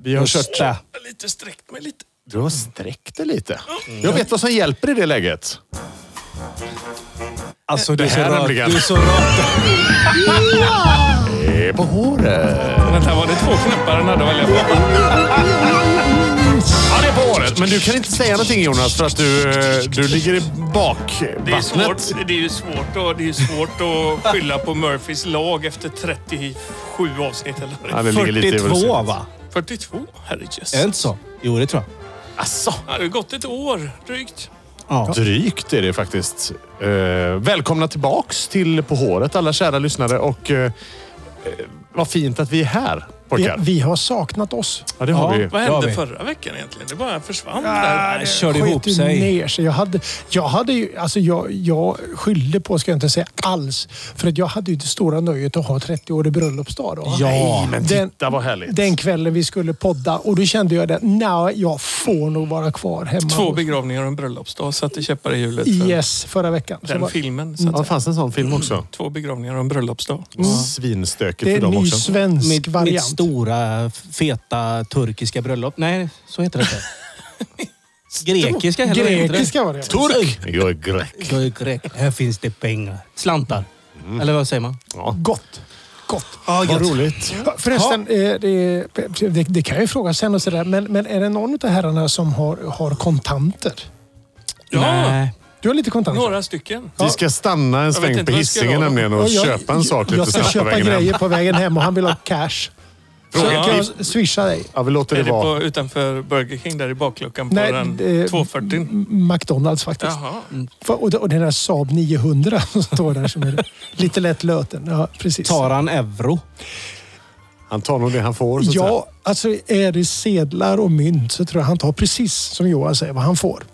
Vi har kört det. Jag har lite sträckt mig lite. Du har sträckt dig lite. Jag vet vad som hjälper i det läget. Alltså, du är så här rakt. Du nämligen. är så rakt. Det är på håret. Vänta, var det två knappar han hade att välja på? Ja, det är på håret. Men du kan inte säga någonting Jonas för att du, eh, du ligger i Det är, svårt, bakvattnet. det, är ju svårt att, det är ju svårt att skylla på Murphys lag efter 37 avsnitt. Eller? Ja, det ligger lite i vad du 42 säger. va? 42? Herrejösses. Är det inte så? Jo, det tror jag. Asså. Ja, det har gått ett år drygt. Ja. Drygt är det faktiskt. Eh, välkomna tillbaks till På håret alla kära lyssnare och eh, eh, vad fint att vi är här Vi, pojkar. vi har saknat oss. Ja, det har Ja, vi. Vad Det har hände vi. förra veckan egentligen? Det bara försvann där. Nej, Körde Sket ihop ju sig. Ner sig. Jag hade, jag hade ju, alltså jag, jag skyllde på, ska jag inte säga alls, för att jag hade ju det stora nöjet att ha 30-årig bröllopsdag då. Ja. Men Den, titta vad härligt. den kvällen vi skulle podda och då kände jag det, nej, jag får nog vara kvar hemma. Två begravningar och en bröllopsdag satte käppar i hjulet för Yes, förra veckan. Så den var- filmen. Så att Ja, det säga. fanns en sån film också. Två begravningar och en bröllopsdag. Svinstökigt det för är en dem ny också. svensk Mitt, mitt variant. stora feta turkiska bröllop. Nej, så heter det inte. Grekiska heller heter det. Grekiska variant. Turk! Jag är grek. Jag är grek. Här finns det pengar. Slantar. Mm. Eller vad säger man? Gott. Gott. Ja, Vad roligt. Ja, Förresten, eh, det, det, det kan jag ju fråga sen och sådär, men, men är det någon av herrarna som har, har kontanter? Ja, Nej. Du har lite kontanter? några stycken. Vi ska stanna en vet sväng inte på vad jag ska Hisingen göra. nämligen och Ja, köpa en sak Jag lite ska snabbt på köpa vägen hem. grejer på vägen hem och han vill ha cash. Så Ja. kan jag swisha dig. Ja, vi låter det Är det vara. på, utanför Burger King där i bakluckan på Nej, den det- 240? M- McDonalds faktiskt. Jaha. För- Och, det- och den där Saab 900 som står där som är lite lätt löten. Ja, precis. Tar han euro? Han tar nog det han får. Så att säga. Ja, alltså är det sedlar och mynt så tror jag han tar precis som Johan säger vad han får.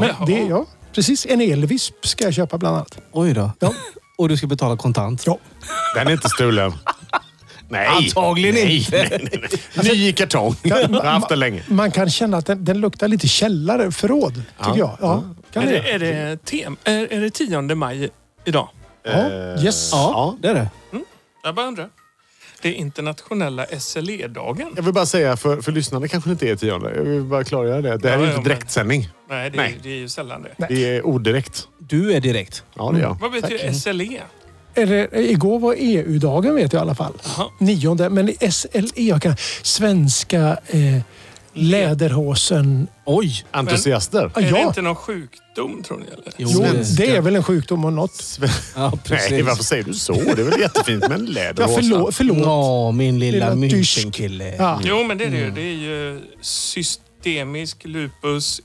Men det, ja, precis. En elvisp ska jag köpa bland annat. Oj då. Ja. Och du ska betala kontant? Ja. Den är inte stulen. Nej. Antagligen nej, inte. Nej, nej, Alltså, nej. Ny i kartong. Jag har haft den länge. Man kan känna att den, den luktar lite källare, förråd, Ja. tycker jag. Ja, kan Är det. det, är, det tem, är, är det 10 maj idag? Eh, Ja, yes. Ja, det är det. Jag bara undrar. Det är internationella SLE-dagen. Jag vill bara säga, för, för lyssnarna kanske det inte är tionde. Jag vill bara klargöra det. Det här Ja, är ja, inte men- direktsändning. Nej, det, Nej. Är, det är ju sällan det. Det är odirekt. Du är direkt. Ja, det är jag. Vad betyder E? SLE? Är det, igår var EU-dagen vet jag i alla fall. Jaha. Nionde. Men SLE, E, jag kan, svenska eh, läderhosen. Oj! Entusiaster. Ja, Är det ja. inte någon sjukdom tror ni? Eller? Jo, Jo, det- det är väl en sjukdom om något. Ja, precis. Nej, varför säger du så? Det är väl jättefint med en Ja, läderrosa. förlåt. förlåt. Nå, min lilla, Lilla tysk. Münchenkille. Ja. Jo, men det är det ju. Det är ju systemisk lupus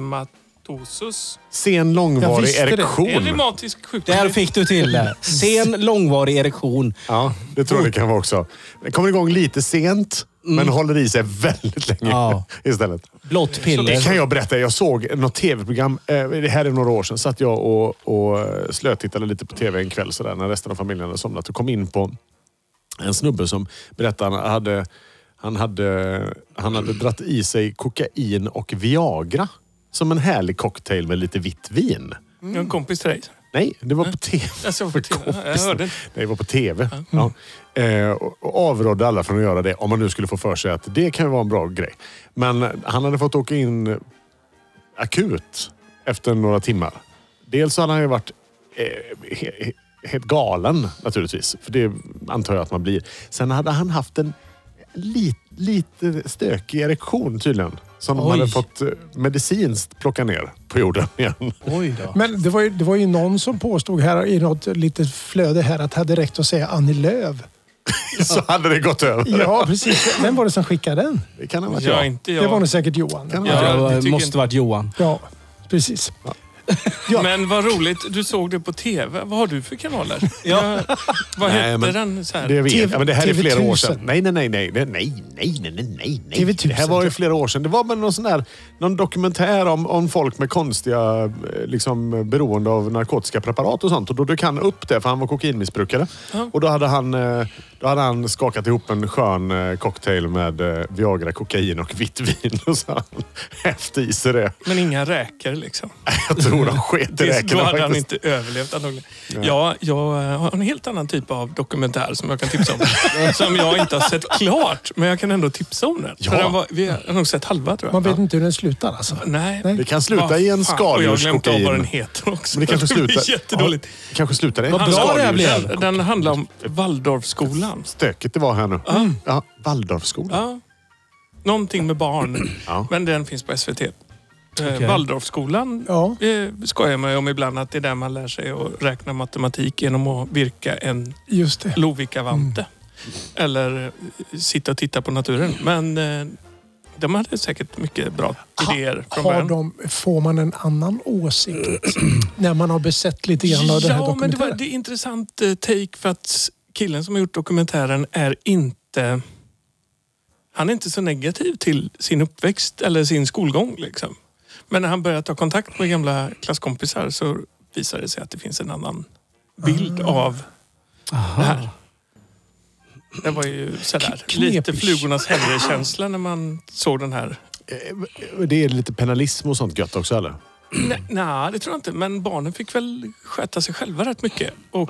erytematosus. Sen Jag långvarig visste det. En erektion. reumatisk sjukdom. Där fick du till det. Sen långvarig erektion. Ja, det tror jag det kan vara också. Den kommer igång lite sent, men håller i sig väldigt länge Ja. istället. Blått Det piller. kan jag berätta. Jag såg något tv-program, eh, det här är några år sedan, satt jag och, och eh, slötittade lite på tv en kväll sådär, när resten av familjen hade somnat och kom in på en snubbe som berättade han hade, han hade, han hade dratt i sig kokain och Viagra. Som en härlig cocktail med lite vitt vin. Jag har en kompis till dig. Nej, det var på tv. Alltså, jag, får Mm. till- jag Visst. hörde inte. Nej, det var på tv. Ja. Eh, och, och avrådde alla från att göra det om man nu skulle få för sig att det kan ju vara en bra grej. Men han hade fått åka in akut efter några timmar. Dels så hade han ju varit eh, he, he, helt galen naturligtvis. För det antar jag att man blir. Sen hade han haft en li, lite stökig erektion tydligen. Som de Oj. hade fått eh, medicinskt plocka ner på jorden igen. Oj då. Men det var, ju, det var ju någon som påstod här i något litet flöde här att det hade räckt att säga Annie Lööf. så hade det gått över. Ja, precis. Vem var det som skickade den? Det kan ha varit Jag, jag. inte Det var jag. nog säkert Johan. Ja, det det var, tycker måste inte- varit Johan. Ja, precis. Ja. Men vad roligt, du såg det på TV. Vad har du för kanaler? Ja. Vad Nej, hette men den? Så här? Det vet. TV jag, men det här är flera år sedan. 1000. Nej, nej, nej, nej, nej, nej, nej, nej, nej, nej, nej. TV1000. Det här var ju flera år sedan. Det var väl någon sån där, någon dokumentär om, om folk med konstiga, eh, liksom beroende av narkotiska preparat och sånt. Och då dök han upp det, för han var kokainmissbrukare. Och då hade, han, eh, då hade han skakat ihop en skön eh, cocktail med eh, Viagra, kokain och vitt vin. Och så hade han hävt i sig det. Men inga räkor liksom. Jag tror tror de sket i Då räkorna hade han faktiskt. inte överlevt antagligen. Ja, jag har en helt annan typ av dokumentär som jag kan tipsa om. som jag inte har sett klart, men jag kan ändå tipsa om den. Ja. För den var, vi har nog sett halva tror jag. Man vet inte hur den slutar alltså. Nej. Nej. Det kan sluta i en Vad fan. Och jag har glömt av vad skaldjurskokain. den heter också. Men det kanske blir slutar... jättedåligt. Ja, kanske slutar i en Vad bra det här blev. skaldjurs- Den, den handlar om Waldorfskolan. Stökigt det var här nu. Ja, Mm. Waldorfskolan. Ja. Någonting med barn. Ja. Men den finns på SVT. Okej. Okay. Eh, Waldorfskolan Ja. eh, skojar man ju om ibland att det är där man lär sig att räkna matematik genom att virka en Just det. Lovikka-vante. Mm. Eller eh, sitta och titta på naturen. Men eh, de hade säkert mycket bra idéer från Har början. de, får man en annan åsikt när man har besett lite grann av det här ja, men det var dokumentären? det är intressant eh, take för att s- killen som har gjort dokumentären är inte... Han är inte så negativ till sin uppväxt eller sin skolgång. Liksom. Men när han börjar ta kontakt med gamla klasskompisar så visar det sig att det finns en annan bild Ah. av det här. Det var ju sådär, knepig. lite flugornas herre-känsla när man såg den här. Eh, Det är lite penalism och sånt gött också eller? Nej, nej, det tror jag inte. Men barnen fick väl sköta sig själva rätt mycket. Och,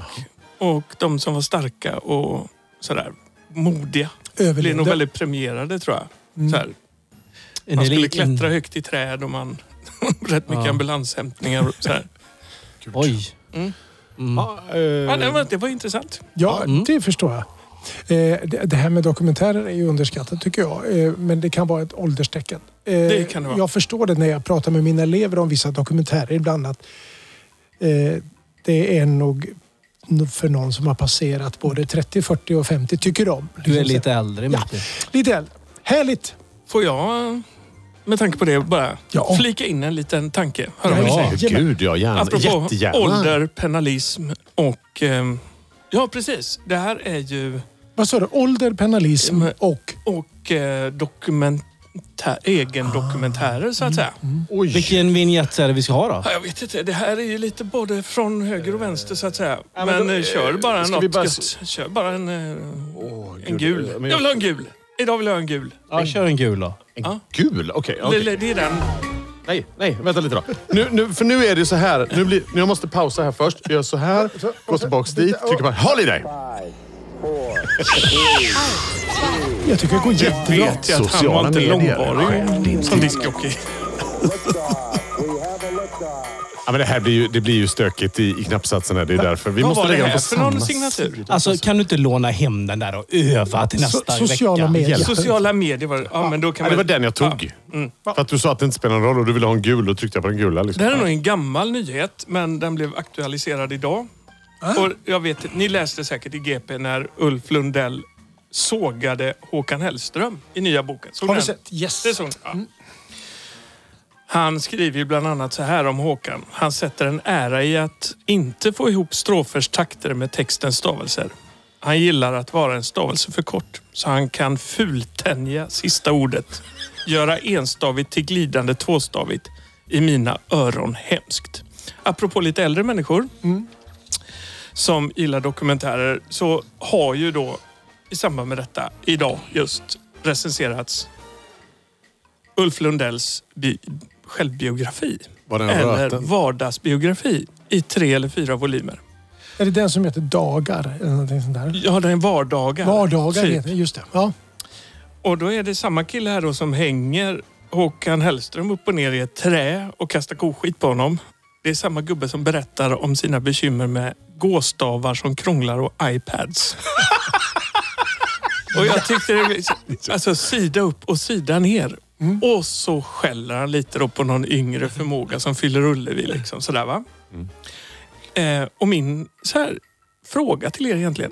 och de som var starka och sådär modiga blev nog Överlevde. Mm. väldigt premierade tror jag. Såhär, En man skulle elit- en- klättra högt i träd och man... rätt mycket Ja. ambulanshämtningar och sådär. Oj. Mm. Mm. Ja, Ja, det, eh, var, det var intressant. Ja, Mm. det förstår jag. Eh, Det det här med dokumentärer är ju underskattat tycker jag. Eh, Men det kan vara ett ålderstecken. Eh, Det kan det vara. Jag förstår det när jag pratar med mina elever om vissa dokumentärer ibland. Att eh, det är nog för någon som har passerat både 30, 40 och 50 tycker de. Du är Liksom så- lite äldre, Ja. Micke. lite äldre. Härligt! Får jag med tanke på det bara Ja. flika in en liten tanke? Hör Ja. ja. Ja, gud ja, gärna. Apropå Jättegärna. ålder, penalism och... ehm, ja, precis. Det här är ju... Vad sa du? Ålder, penalism Men- och... och eh, dokumentär, Ah. egen dokumentärer så att säga. Mm, Oj. Vilken vignett är det vi ska ha då? Ja, jag vet inte, det här är ju lite både från höger och vänster så att säga. ja, men men då, eh, kör bara ska vi något bara gött. Kör bara en, eh, Åh, gud. en gul. Men Jag jag- vill ha en gul. Idag vill jag ha en gul. Ja, kör en gul då. En gul? Okej. okej. Det, det är den. Nej, nej, vänta lite då. Nu, nu, för nu är det så här. Nu blir, nu jag måste pausa här först. Jag gör så här, går tillbaks dit, trycker på Holiday. Jag tycker det går jättebra. Vet jag att han var Sociala inte medier. långvarig som diskjockey. Ja, men det här blir ju, det blir ju stökigt i, i knappsatserna. Det är därför vi Vad måste var det lägga dem här på för någon samma signatur? Alltså, kan du inte låna hem den där och öva till So- nästa sociala vecka? medier. Sociala medier var det. Ja, men då kan Ja, det var man... den jag tog. För att du sa att det inte spelar någon roll och du ville ha en gul. Då tryckte jag på den gula. Det Liksom. här är nog en gammal nyhet, men den blev aktualiserad idag. Och jag vet, ni läste säkert i GP när Ulf Lundell sågade Håkan Hellström i nya boken. Såg Har ni du den? sett? Yes. Mm. Det såg ni, ja. Han skriver ju bland annat så här om Håkan. Han sätter en ära i att inte få ihop strofers takter med textens stavelser. Han gillar att vara en stavelse för kort, så han kan fultänja sista ordet. Göra enstavigt till glidande tvåstavigt. I mina öron hemskt. Apropå lite äldre människor som gillar dokumentärer så har ju då i samband med detta idag just recenserats Ulf Lundells bi- självbiografi. Var den Eller röten? vardagsbiografi i tre eller fyra volymer. Är det den som heter Dagar? Eller någonting sånt där? Ja, den är vardagar. Vardagar typ. heter den, just det. Ja. Och då är det samma kille här då som hänger Håkan Hellström upp och ner i ett trä och kastar koskit på honom. Det är samma gubbe som berättar om sina bekymmer med gåstavar som krånglar och iPads. och jag tyckte det blev- Alltså sida upp och sida ner. Och så skäller han lite då på någon yngre förmåga som fyller Ullevi. Liksom, sådär, va? Eh, och min så här, fråga till er egentligen.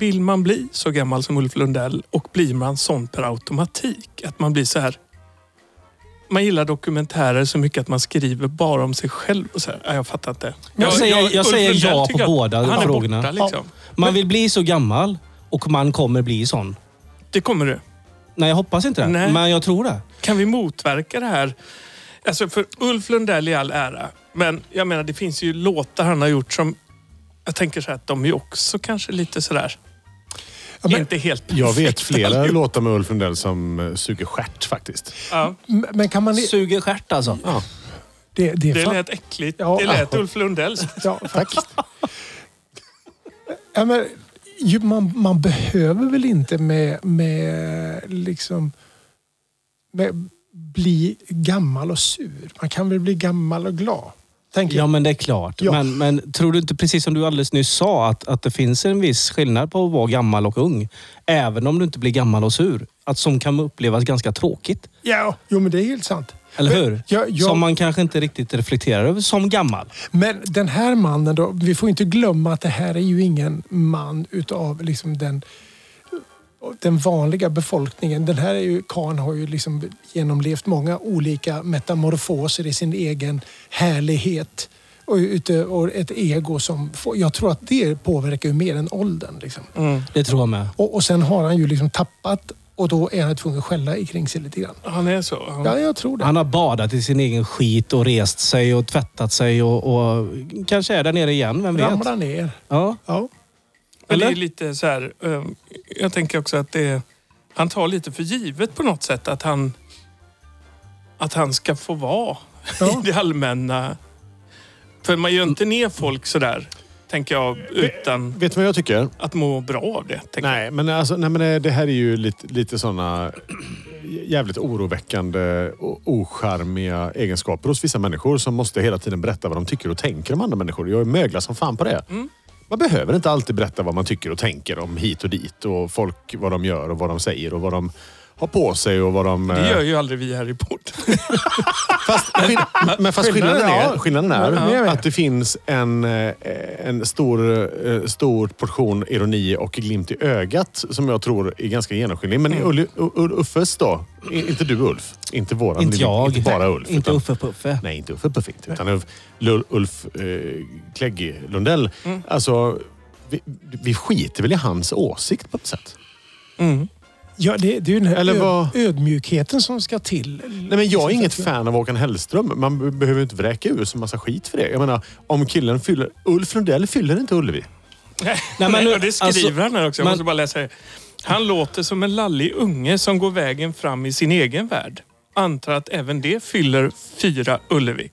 Vill man bli så gammal som Ulf Lundell och blir man sån per automatik? Att man blir så här... Man gillar dokumentärer så mycket att man skriver bara om sig själv. Och så här, "Nej, jag fattar inte. Jag säger- jag Ulf säger Lundell ja på tycker att båda han är frågorna. Borta, liksom. Man vill bli så gammal och man kommer bli sån. Det kommer du. Nej, jag hoppas inte det. Nej. Men jag tror det. Kan vi motverka det här? Alltså för Ulf Lundell i all ära, men jag menar det finns ju låtar han har gjort som... Jag tänker så här att de är ju också kanske lite sådär... Ja, men- inte helt Jag vet perfekta flera allihop. låtar med Ulf Lundell som eh, suger stjärt faktiskt. Ja. Men kan man... Suger stjärt alltså. Det, det, är Det fan- lät äckligt. Ja. det lät Ulf Lundell. ja, Tack. ja, men, ju, man, man behöver väl inte med, med liksom med, bli gammal och sur. Man kan väl bli gammal och glad. Tänker Ja, jag. men det är klart. Ja. Men, men tror du inte, precis som du alldeles nyss sa, att, att det finns en viss skillnad på att vara gammal och ung? Även om du inte blir gammal och sur. Att som kan upplevas ganska tråkigt. Ja, jo, men det är helt sant. Eller Men- hur? Ja, ja. Som man kanske inte riktigt reflekterar över som gammal. Men den här mannen då, vi får inte glömma att det här är ju ingen man utav liksom den, den vanliga befolkningen. Den här är ju, karln har ju liksom genomlevt många olika metamorfoser i sin egen härlighet och, ute, och ett ego som, får, jag tror att det påverkar ju mer än åldern. Liksom. Det tror jag med. Och, och sen har han ju liksom tappat och då är han tvungen att skälla kring sig lite grann. Han är så. Han- Ja, jag tror det. Han har badat i sin egen skit och rest sig och tvättat sig och, och kanske är där nere igen, vem vet? ramlar ner. Ja. Ja. Men det är Eller? lite så här, eh, jag tänker också att det, han tar lite för givet på något sätt att han, att han ska få vara Ja. i det allmänna. För man gör inte ner folk sådär, tänker jag, utan Vet du vad jag tycker? att må bra av det. tänker Nej, men, alltså, nej, men eh, det här är ju lite, lite sådana jävligt oroväckande och ocharmiga egenskaper hos vissa människor som måste hela tiden berätta vad de tycker och tänker om andra människor. Jag är möglar som fan på det. Mm. Man behöver inte alltid berätta vad man tycker och tänker om hit och dit och folk, vad de gör och vad de säger och vad de har på sig och vad de... jag. Det eh, gör ju aldrig vi här i podden. Fast, skill- men fast Skillnaden skillnaden är- är, skillnaden Ja, jag är vet. att det finns en, eh, en stor, eh, stor portion ironi och glimt i ögat som jag tror är ganska genomskinlig. Men i Ulli- U- U- Uffes då? I- Inte du Ulf? Inte våran? Inte lilla- jag. Inte bara Ulf. Inte utan- Uffe Puffe. Nej, inte Uffe Puffigt. Utan Ulf, Lul- Ulf eh, Klägg Lundell. Alltså, vi, vi skiter väl i hans åsikt på ett sätt? Ja, det, det är ju den här Eller öd, vad- ödmjukheten som ska till. liksom, Nej, men jag är inget fan av Håkan Hellström. Man be- behöver inte vräka ur sig massa skit för det. Jag menar, om killen fyller... Ulf Lundell fyller inte Ullevi. Nej, men nu- och det skriver alltså, han här också. Jag men- måste bara läsa det. Han låter som en lallig unge som går vägen fram i sin egen värld. Antar att även det fyller fyra Ullevi.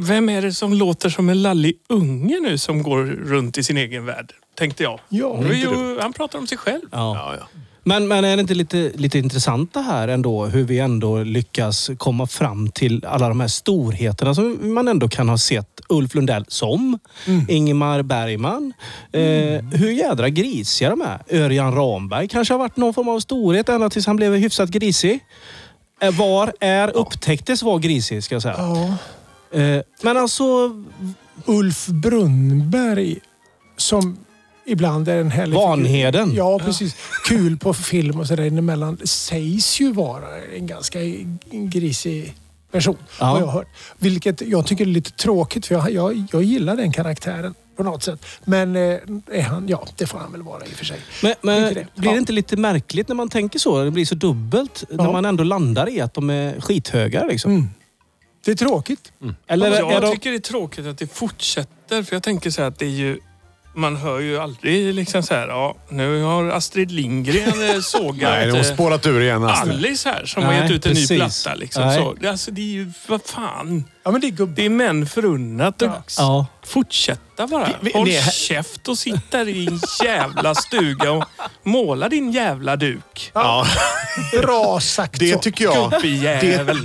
Vem är det som låter som en lallig unge nu som går runt i sin egen värld? Tänkte jag. Ja, Det är ju, han pratar om sig själv. Ja. Men, men är det inte lite, lite intressant det här ändå? Hur vi ändå lyckas komma fram till alla de här storheterna som man ändå kan ha sett Ulf Lundell som. Ingemar Bergman. Eh, hur jädra grisiga de är. Örjan Ramberg kanske har varit någon form av storhet ända tills han blev hyfsat grisig. Eh, Var är upptäcktes var grisig ska jag säga. Ja. Eh, men alltså Ulf Brunnberg som ibland är en härlig figur. Vanheden. Ja, precis. Kul på film och sådär emellan. Sägs ju vara en ganska grisig person. Ja. Har jag hört. Vilket jag tycker är lite tråkigt för jag, jag, jag gillar den karaktären på något sätt. Men eh, är han, ja det får han väl vara i och för sig. Men, men Inte det. blir det Ja. inte lite märkligt när man tänker så? Det blir så dubbelt när Ja. Mm. man ändå landar i att de är skithögar. Liksom. Det är tråkigt. Eller jag är de... tycker det är tråkigt att det fortsätter. För jag tänker så här att det är ju... Man hör ju aldrig liksom så här, ja, nu har Astrid Lindgren eh, sågat... Nej, de har eh, spårat ur igen. Astrid. Alice här som Nej, har gett ut en ny precis. platta. Liksom. Nej. Så, det- alltså, det är ju, vad fan. Ja, men det är gubbar. Det är män förunnat att Ja. fortsätta bara. Vi- vi- Håll det här- käft och sitt där i din jävla stuga och måla din jävla duk. Ja, Bra sagt det så. tycker jag... Det, Gubbjävel.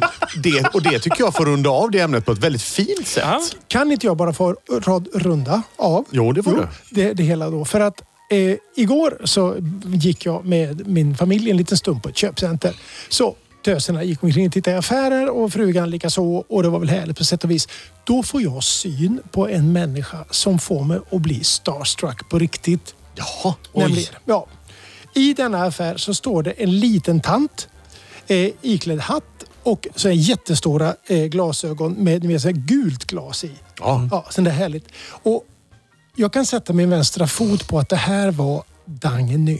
det, och det tycker jag får runda av det ämnet på ett väldigt fint sätt. Ja. Kan inte jag bara få rad, runda av? Jo, det får du. Det, det hela då. För att eh, igår så gick jag med min familj en liten stund på ett köpcenter. Så töserna gick omkring och tittade i affärer och frugan likaså. Och det var väl härligt på sätt och vis. Då får jag syn på en människa som får mig att bli starstruck på riktigt. Jaha. Nämligen, ja. I denna affär så står det en liten tant eh, iklädd hatt och så en jättestora eh, glasögon med, med så här gult glas i. Ja. Ja, sen det är härligt. Och jag kan sätta min vänstra fot på att det här var Dagny.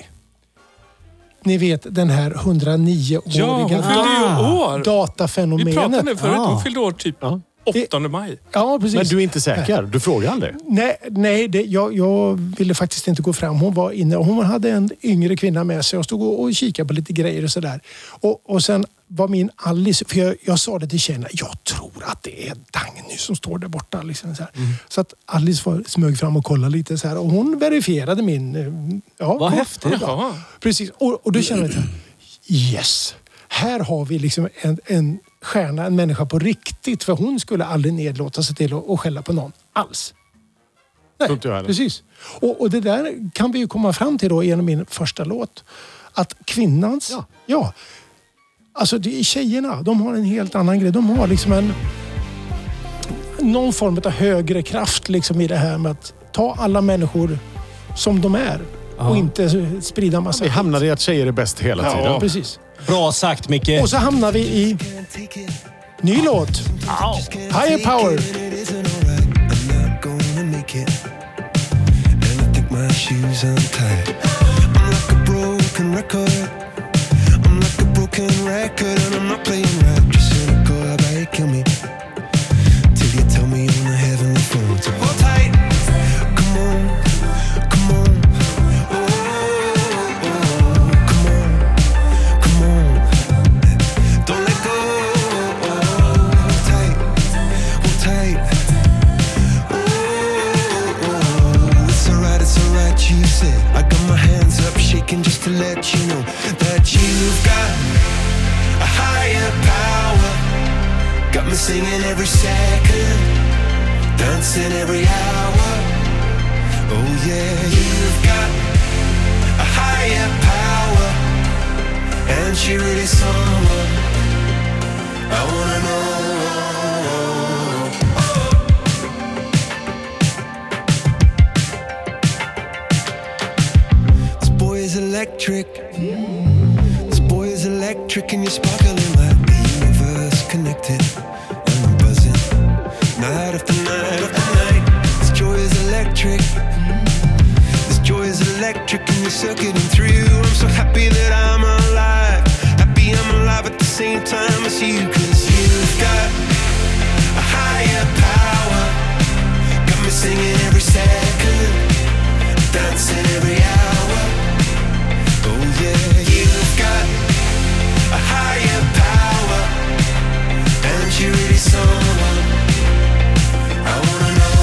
Ni vet den här Ja, hon 109-åriga fyllde ju Ah, år. datafenomenet. Vi pratade om det förut. Ja. Hon fyllde år typ Ja. 8 maj. Ja, precis. Men du är inte säker? Du frågar aldrig? Nej, nej det, jag, jag ville faktiskt inte gå fram. Hon var inne och hon hade en yngre kvinna med sig och stod och, och kikade på lite grejer och sådär. Och, och sen var min Alice, för jag, jag sa det till tjejerna, jag tror tror att det är Dagny som står där borta. Liksom, så, här. Mm. så att Alice var, smög fram och kollade lite så här, och hon verifierade min... eh, Ja, Vad kom- häftigt. Jaha. Precis, och, och då känner jag så här, yes! Här har vi liksom en, en stjärna, en människa på riktigt. För hon skulle aldrig nedlåta sig till att att skälla på någon alls. Tror inte jag heller. precis. Och, och det där kan vi ju komma fram till då genom min första låt. Att kvinnans... Ja. alltså det, tjejerna, de har en helt annan grej. De har liksom en... Någon form av högre kraft liksom i det här med att ta alla människor som de är. Och inte sprida massa... Vi hamnade i att tjejer är bäst hela Ja. tiden. Precis. Bra sagt, Micke. Och så hamnar vi i ny låt. Higher power. It isn't alright. I'm not gonna make it. And I think my shoes untied. I'm like a broken record. I'm like a broken record, and I'm not playing right. Just cynical, I might kill me. Till you tell me on the heavenly phone. So hold tight. Come on, come on. Oh, oh, oh. Come on, come on. Don't let go. Hold tight. Hold tight. Ooh, ooh, ooh. It's alright, it's alright, you said. I got my hands up shaking just to let you know that you've got a higher power. Got me singing every second, dancing every hour. Oh yeah, you've got a higher power. And she really someone I wanna know. This boy is electric. This boy is electric, and you're sparkling like the universe connected. And I'm buzzing. Night after night after night. This joy is electric. This joy is electric, and you're circuiting through. I'm so happy that I'm alive. Happy I'm alive at the same time as you, cause you've got a higher power. Got me singing every second dancing every hour. Oh yeah, you've got a higher power, and you really someone I wanna know.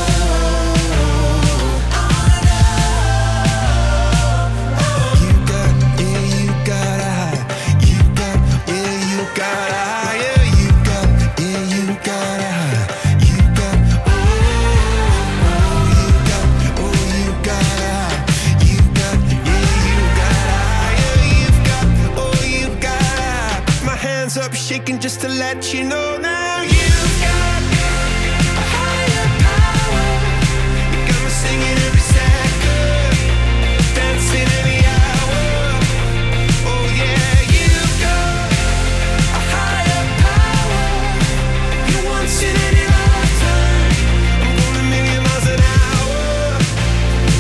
You got, yeah, you got a high. You got, yeah, you got a high. Yeah, you got, yeah, you got a high. You got, oh, oh, you got, oh, you got a high. You got, yeah, you got a high. Yeah, you've got, oh, you got a high. My hands up, shaking just to let you know now. You've got a higher power. You got me singing every second. Dancing every hour, oh yeah, you got a higher power. You once in any lifetime. I'm going a million miles an hour.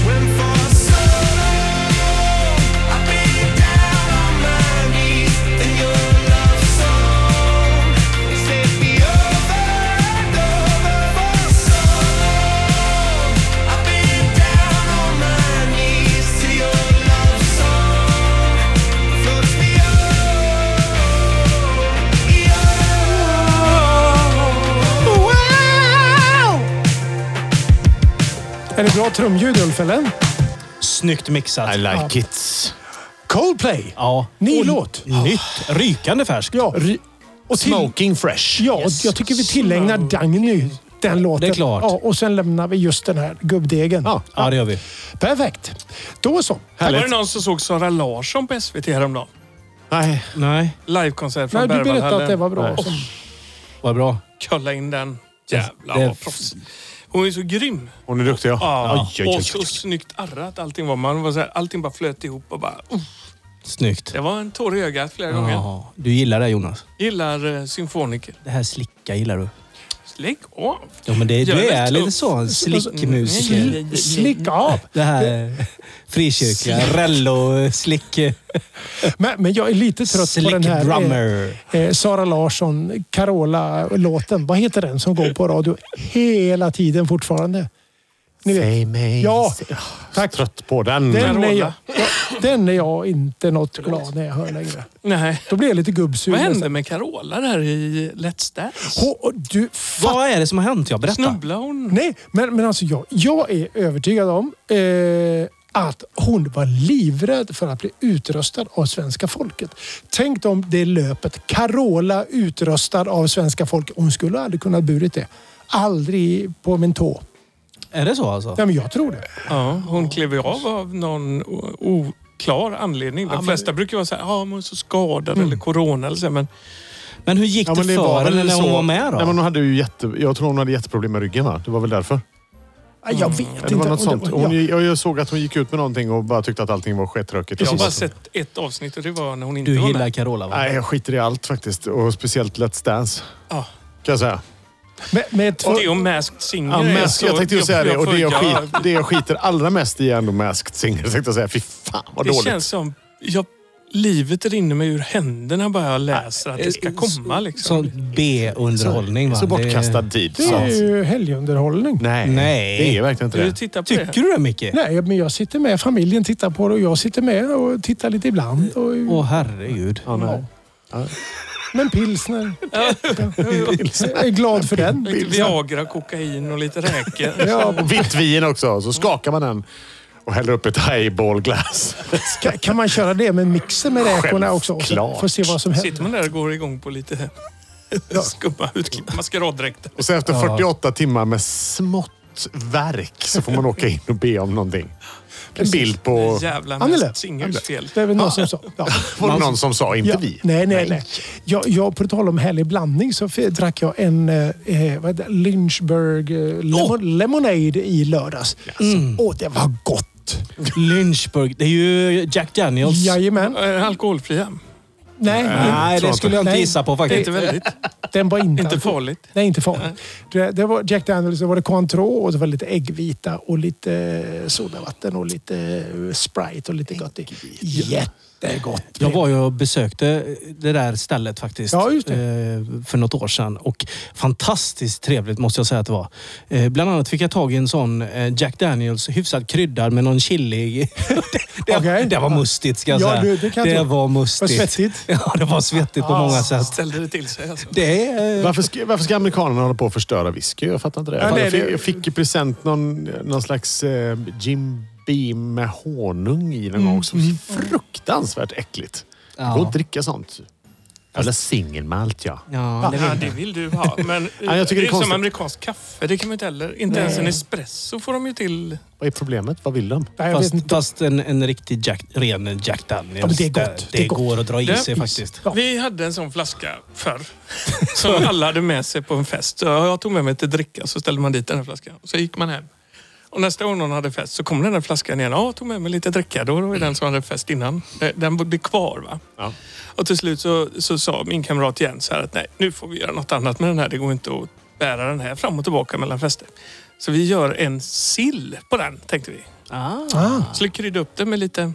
When for so long I've been down on my knees, and your love song set me over and over for so long. I've been down on my knees, till your love song floats me over. Är det bra trumljud, Ulf? Eller? Snyggt mixat. like it. Coldplay. Ja. Ny Och låt. Nytt. Rykande färskt. Ja. Ry- Och till, Smoking fresh. ja, och jag tycker vi tillägnar Dagny den låten. Det är klart. Ja, och sen lämnar vi just den här gubbdegen. Ja. Ja, det gör vi. Perfekt. Då så. Var det Härligt. någon som såg Sara Larsson på SVT häromdagen? Nej. Nej, Livekonsert från Nej, du berättade Berwaldhallen. att det var bra. Nej. Som, vad bra. Kolla in den. Det- Jävlar vad proffs. Hon är så grym. Hon är duktig ja. Ja. Oj, oj, oj, Och så oj. snyggt arrat allting var. Man var så här, allting bara flöt ihop och bara... Uh, Snyggt. det var en tår i ögat flera gånger. Ja, du gillar det Jonas. Gillar eh, symfoniker. Det här slicka gillar du. Lägg av. Ja, men det, Gör du det är tuff. lite så en slickmusiker. Alltså, Mm. slick av! Det här eh, frikyrkliga rello-slick... Men, men jag är lite trött på den här... eh, Slick-drummer. eh, Sara Larsson, Carola-låten. Vad heter den som går på radio hela tiden fortfarande? Ni vet. Säg mig. Ja, Säg- tack. Trött på den. Den är, jag, Carola. den är jag inte något glad när jag hör längre. Nej. Då blir jag lite gubbsur. Vad hände nästan. med Carola där i Let's Dance? Hå- Du, fatt, Vad är det som har hänt? Jag berättar. Snubblade hon? nej, men, men alltså jag, jag är övertygad om eh, att hon var livrädd för att bli utröstad av svenska folket. Tänk om det löpet. Carola utröstad av svenska folket. Hon skulle aldrig kunnat burit det. Aldrig på min tå. Är det så alltså? Ja, men jag tror det. Ja, hon klev ju av av någon o- oklar anledning. De men- flesta brukar ju vara så här, ja, men hon är så skadad eller Mm. corona eller så. här, Men Men hur gick Ja, det men väl för henne när hon så- var med då? Nej, men hon hade ju jätte, jag tror hon hade jätteproblem med ryggen va? Det var väl därför? Ja, Jag vet inte. Mm. Det var om något sånt. ja. Hon, jag, jag såg att hon gick ut med någonting och bara tyckte att allting var skitrökigt. jag har Och så- bara sett ett avsnitt och det var när hon inte Du var gillar med. Carola va? Nej, jag skiter i allt faktiskt. Och speciellt Let's Dance. Ja. Kan jag säga. Med, med två, Och det och Masked Singer. Ja, är mask, jag så- tänkte ju säga det. Och det jag, följer- skit, det jag skiter allra mest i är ändå Masked Singer. Jag tänkte säga, fy fan vad Det dåligt. känns som... Jag, livet rinner mig ur händerna bara jag läser att det Eh, ska komma. Liksom. Sån B-underhållning va? så bortkastad Det... tid. det är ju helgunderhållning. Nej, Nej. det är verkligen inte Du det. tittar på det? typ- Tycker du det Micke? Nej, men jag sitter med. Familjen tittar på det och jag sitter med och tittar lite ibland. Och, Åh herregud. Ja, nej. Men pilsner. Jag är glad för den. Lite Viagra, kokain och lite räkor. Ja, Och vitt vin också. Så skakar man den och häller upp ett highballglas. ska, kan man köra det med mixer med räkorna också? Och så Självklart. får se vad som händer. Sitter man där och går igång på lite skumma utklipp, maskeraddräkter. Och sen efter Ja. 48 timmar med smått verk så får man åka in och be om någonting. En Precis. bild på... Jävla Annele. Masked Singers fel. Det är väl någon som sa. Ja. Var det någon som sa, inte Ja. vi. Nej, nej, nej. Jag, jag, på tal om härlig blandning så f- drack jag en eh, eh, vad heter det? Lynchburg eh, lemon, lemonade i lördags. Mm. Åh, det var gott! Lynchburg. Det är ju Jack Daniels. Jajamän. Är den Eh, alkoholfria? Nej, Nej, det skulle jag inte Nej. gissa på Det är faktiskt. inte väldigt. Den var inte, Inte alkohol- farligt. Nej, inte farligt. Det, det var Jack Daniels, det var det Cointreau och det var lite äggvita och lite eh, sodavatten och lite eh, Sprite och lite gott i. Jättegott. Jag var ju och besökte det där stället faktiskt. Ja, just det. eh, För något år sedan. Och fantastiskt trevligt måste jag säga att det var. Eh, Bland annat fick jag tag i en sån eh, Jack Daniels hyfsat kryddad med någon chili. det, det, Okej. det var mustigt ska jag Ja, säga. du, det kan jag tro. var mustigt. Vad svettigt. Ja, det var svettigt på många Alltså. sätt. Ställde det till sig alltså. Det är... eh, Varför ska, varför ska amerikanerna hålla på att förstöra whisky? Jag fattar inte det. Ja, jag, nej, fick, det- jag fick i present någon, någon slags eh, Jim Beam med honung i Mm, någon gång. Så fruktansvärt äckligt. Det går Ja. inte att dricka sånt. Eller singelmalt ja. Ja, Ja, Ah, det vill det jag. vill du ha. Men Ja, jag tycker det är det är som konstigt. amerikansk kaffe. Det kan man inte heller. Inte ens en espresso får de ju till. Vad är problemet? Vad vill de? Nej, jag vet Fast, inte. fast en, en riktig Jack, ren Jack Daniels. eh, Ja, men det är gott. Det, Det är gott. går att dra i Det- sig faktiskt. Ja. Vi hade en sån flaska förr. Som alla hade med sig på en fest. Så jag tog med mig till dricka så ställde man dit den här flaskan. Så gick man hem. Och nästa gång någon hade fest så kom den där flaskan igen. Ja, jag tog med mig lite dricka. Då var det den som hade fest innan. Eh, Den blir kvar va. Ja. Och till slut så, så sa min kamrat Jens här att nej, nu får vi göra något annat med den här. Det går inte att bära den här fram och tillbaka mellan fester. Så vi gör en sill på den, tänkte vi. Ah, Så vi kryddade upp den med lite...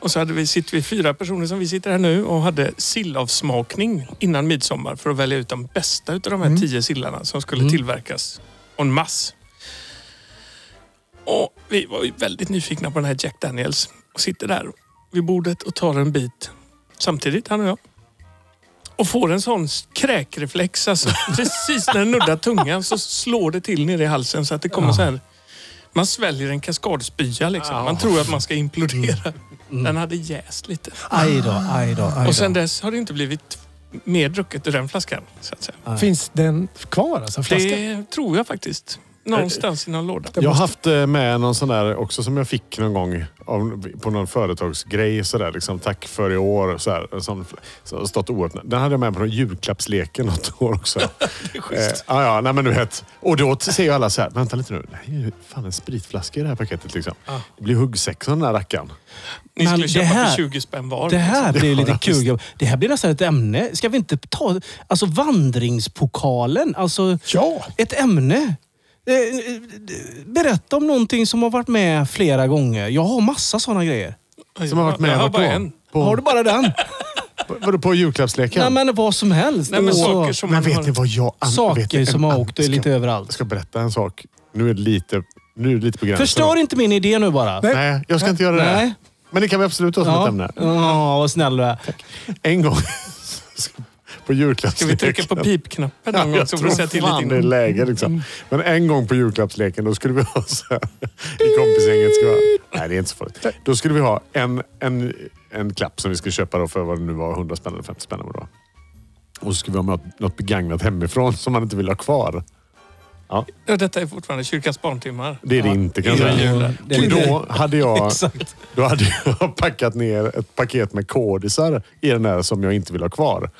Och så hade vi, sitter vi fyra personer som vi sitter här nu och hade sillavsmakning innan midsommar för att välja ut de bästa utav de här tio sillarna som skulle tillverkas en mass. Och vi var ju väldigt nyfikna på den här Jack Daniels och sitter där vid bordet och tar en bit samtidigt, han och jag. Och får en sån kräkreflex. Alltså, precis när den nuddar tungan så slår det till nere i halsen så att det kommer så här. Man sväljer en kaskadspya liksom. Man tror att man ska implodera. Mm. Den hade jäst lite. Aj då, aj då, aj då. Och sen dess har det inte blivit mer drucket ur den flaskan. Så att säga. finns den kvar alltså? Flaskan? Det tror jag faktiskt. Någonstans i någon låda. Jag har haft eh, med någon sån där också som jag fick någon gång av, på någon företagsgrej. Så där, liksom, tack för i år. Så här, som, så har stått oöppnad. Den hade jag med på någon julklappsleken något år också. eh, ja, ja, nej, men du vet. Och då t- ser ju alla så här, vänta lite nu. Det är ju fan en spritflaska i det här paketet. Liksom. Det blir huggsexa den där rackaren. Ni Men skulle det köpa här- för 20 spänn var. Det här blir ju lite Ja, kul. visst. grabb. Det här blir nästan ett ämne. Ska vi inte ta... Alltså vandringspokalen. Alltså Ja! ett ämne. Eh, eh, Berätta om någonting som har varit med flera gånger. Jag har massa sådana grejer. Som har varit med jag har vart bara då? en. Har På, du bara den? på, vadå, på julklappsleken? Nej men vad som helst. Nej, men Och- saker som Men man vet har... ni vad jag... an- saker vet ni, en som har an- åkt lite ska- överallt. Jag ska berätta en sak. Nu är det lite Nu är det lite på gränsen. Förstör inte min idé nu bara. Nej. Nej, jag ska inte göra det. Nej. Men det kan vi absolut ta som ett Ja, ämne. Ja, vad snäll du är. En gång på julklappsleken. Ska vi trycka på pipknappen någon gång jag så får vi säga till fan det lite Mm. är in? läge. Liksom. Men en gång på julklappsleken, då skulle vi ha så här, i kompisgänget. Ska vi ha, nej, det är inte så farligt. Då skulle vi ha en, en, en klapp som vi skulle köpa då för vad det nu var, 100 spänn eller 50 spänn. eller vad det var. Och så skulle vi ha något, något begagnat hemifrån som man inte vill ha kvar. Ja, Detta är fortfarande kyrkans barntimmar. Det är det inte kan jag innan säga. jul. Det Och är lite- Då hade, jag, Exakt. då hade jag packat ner ett paket med kodisar i den här som jag inte vill ha kvar.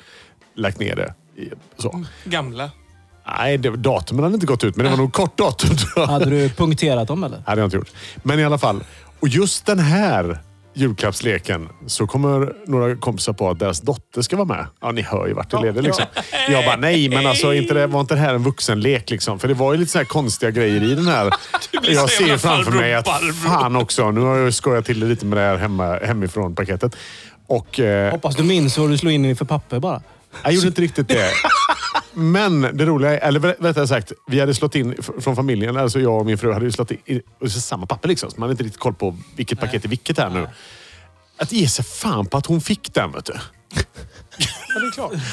Lagt ner det. i- Så. Mm. Gamla. Nej, det, datumen hade inte gått ut, men det var nog kort datum. tror jag. Hade du punkterat dem eller? hade jag inte gjort. Men i alla fall. Och just den här julklappsleken så kommer några kompisar på att deras dotter ska vara med. Ja, ni hör ju vart det leder liksom. Jag bara, nej men alltså inte det, var inte det här en vuxenlek liksom? För det var ju lite så här konstiga grejer i den här. blir så Jag ser ju jävla framför farbror mig att Barbro. fan också, nu har jag skojat till det lite med det här hemma, hemifrån-paketet. Och eh, Hoppas du minns vad du slog in i för papper bara. jag gjorde inte riktigt det. Men det roliga är, eller vä- rättare sagt, vi hade slått in f- från familjen, alltså jag och min fru hade ju slått in i, och så samma papper liksom. Så man hade inte riktigt koll på vilket paket är vilket här nu. Att ge sig fan på att hon fick den, vet du.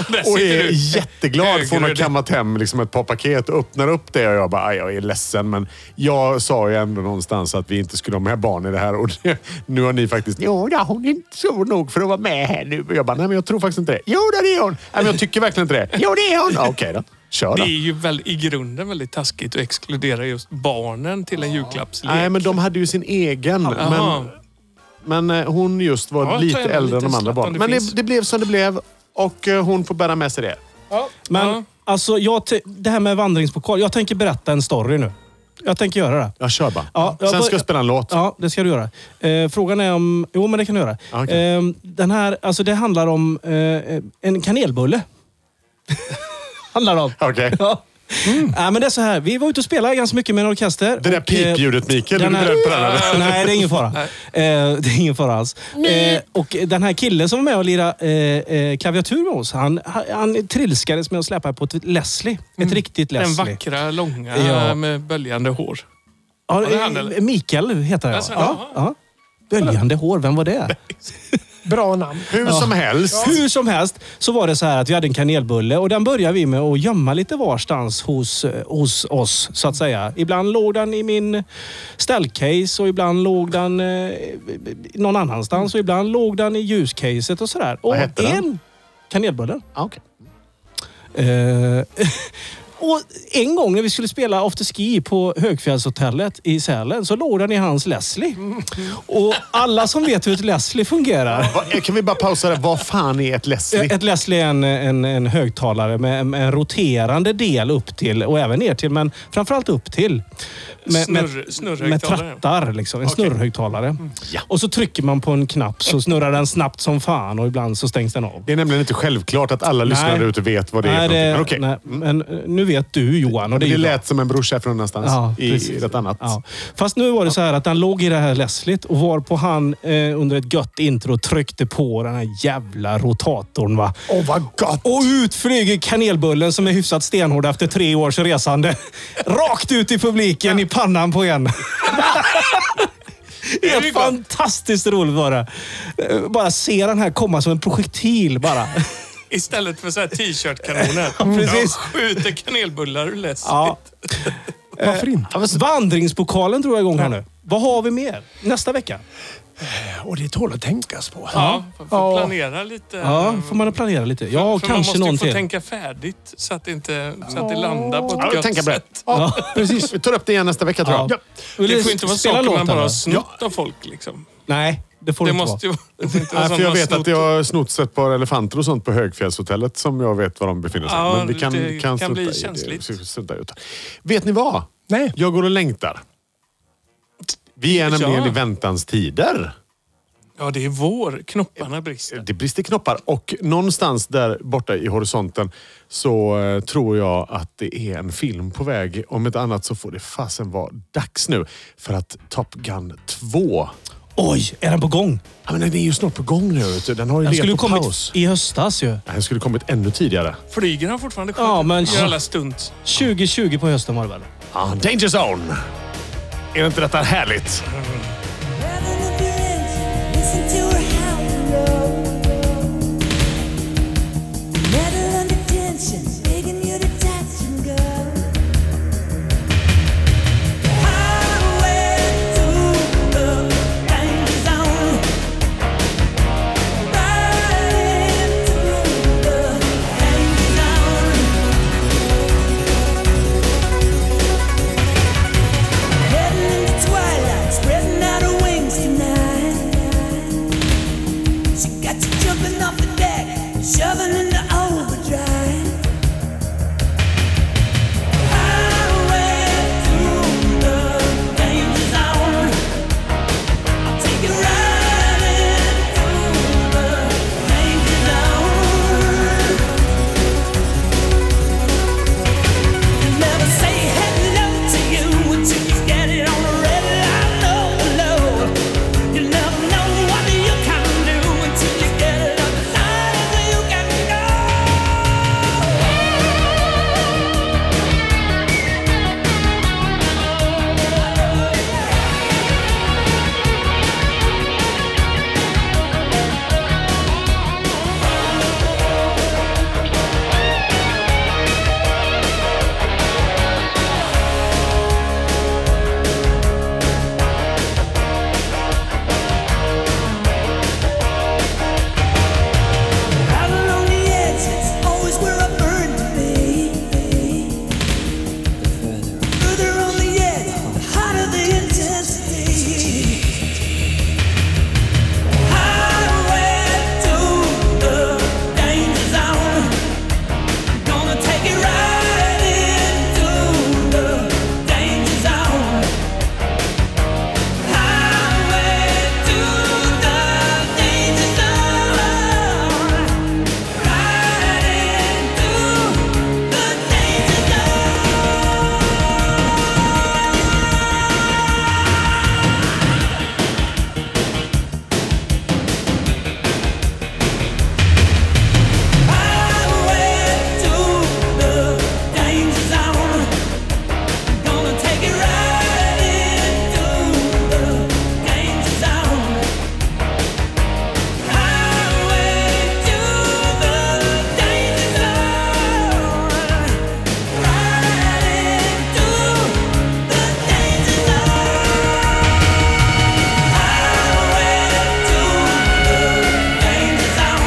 Där Och sitter är du. jätteglad för hon har Högröd. kammat hem liksom ett par paket och öppnar upp det. Och jag bara, "Aj, jag är ledsen men jag sa ju ändå någonstans att vi inte skulle ha med barn i det här. Och det, nu har ni faktiskt, jo, ja, hon är inte stor nog för att vara med här nu. Och jag bara, nej men jag tror faktiskt inte det. Jo, det är hon! Nej, men jag tycker verkligen inte det. Jo, det är hon! Ja, Okej då, kör Det då. är ju väl, i grunden väldigt taskigt att exkludera just barnen till en julklappslek. Nej, men de hade ju sin egen. Jaha. Men, men eh, hon just var Ja, ta lite gärna en äldre än liten de andra slatt om barnen. det Men finns. det, det blev som det blev. Och eh, hon får bära med sig det. Men Ja. alltså, jag te- det här med vandringspokal. Jag tänker berätta en story nu. Jag tänker göra det. Ja, kör bara. Ja, jag Sen bör- ska jag spela en låt. Ja, det ska du göra. Eh, frågan är om... Jo, men det kan du göra. Ja, okej. Eh, den här, alltså det handlar om eh, en kanelbulle. handlar det om. Okej. Ja. Mm. Nej, men det är så här. Vi var ute och spelade ganska mycket med en orkester. Det där och, eh, pipljudet Mikael, är du den här- beredd på den? eller? Nej, det är ingen fara. Eh, det är ingen fara alls. Eh, och den här killen som var med och lirade eh, eh, klaviatur med oss, han, han, han trilskades med att släpa på ett Leslie. Ett riktigt Den Leslie. vackra, långa Ja. med böljande hår. Ja, det är han, eller? eh, Mikael heter jag. Jaså, Ja, ja. Böljande hår, vem var det? Bra namn. Hur som helst. Hur som helst så var det så här att vi hade en kanelbulle och den började vi med att gömma lite varstans hos, eh, hos oss, så att säga. Ibland låg den i min ställcase och ibland låg den eh, någon annanstans och ibland låg den i ljuscaset och sådär. Och hette den? en kanelbulle. Ah, okej. Eh, och en gång när vi skulle spela after ski på Högfjällshotellet i Sälen så låg den i hans Leslie. Mm. Och alla som vet hur ett Leslie fungerar Vad- eh, Kan vi bara pausa där? Vad fan är ett Leslie? Eh, Ett Leslie är en, en, en högtalare med, med en roterande del upp till och även ner till, men framförallt upp till. Med, Snurr- med, med snurrhögtalare. trattar, liksom. en snurrhögtalare. Mm. Och så trycker man på en knapp Eh. så snurrar den snabbt som fan och ibland så stängs den av. Det är nämligen inte självklart att alla lyssnare där ute vet vad det är. för någonting. Men okej. nej, men eh, nu vet du Johan och det, Det är ju bra. lät som en brorsa från någonstans i precis. något annat. Ja. Fast nu var det så här att han låg i det här Leslie och var på han eh, under ett gött intro tryckte på den här jävla rotatorn. Va? Åh, vad gott! Och ut flyger kanelbullen som är hyfsat stenhård efter tre års resande. Rakt ut i publiken i pannan på en. är ju Helt gott. fantastiskt roligt var det. Eh, Bara se den här komma som en projektil bara. Istället för så här t-shirt-kanoner. Ja, precis. De skjuter kanelbullar ur läsk. Ja. Varför inte? Eh, Vandringspokalen tror jag igång här nu. Vad har vi mer? Nästa vecka? Och det tål att tänkas på. Ja, får Ja. planera lite. Ja, får man planera lite. Ja, För kanske man någon måste ju få till. tänka färdigt så att det, inte, så att det landar på Ja, ett gött tänka på det. sätt. Ja, precis. Vi tar upp det igen nästa vecka tror Ja. jag. Ja. Det får ju inte vara saker man bara har va? snott av folk. Liksom. Nej, det får det Det inte måste vara. ju det får inte vara Nej, sånt för jag man vet snott. att jag har snott ett par elefanter och sånt på Högfjällshotellet som jag vet var de befinner sig. Ja, Men vi kan, det kan, kan strunta bli i det. känsligt. Vi struntar ut. Vet ni vad? Nej. Jag går och längtar. Vi är nämligen i väntans tider. Ja, det är vår. Knopparna brister. Det brister knoppar och någonstans där borta i horisonten så eh, tror jag att det är en film på väg. Om inte annat så får det fasen vara dags nu för att Top Gun 2... Oj, är den på gång? Ja, men den är ju snart på gång nu. vet du. Den har ju Den legat skulle ju på kommit paus. i höstas ju. Den skulle kommit ännu tidigare. Flyger han fortfarande själv? Ja, men- Gör alla stunt. 2020 på hösten var det väl? Ah, Danger Zone! Är inte detta härligt? Spreading out her wings tonight. She got you jumping off the deck, shoving into overdrive. Highway through the danger zone. I'll take you riding through the danger zone. You never say hello to you until you get it on the red light. No, no. You never know what you can do until you get it up as high as you can go. Out along the edge, it's always where I burn to be. Further on the edge, the hotter the intensity. Highway to the danger zone. I'm gonna take it right into the danger zone. Highway to the danger zone. Right into the danger zone. Highway to the danger zone. Gonna take it right into the danger zone. Highway to the danger zone. Right into the danger zone. Highway to the danger zone.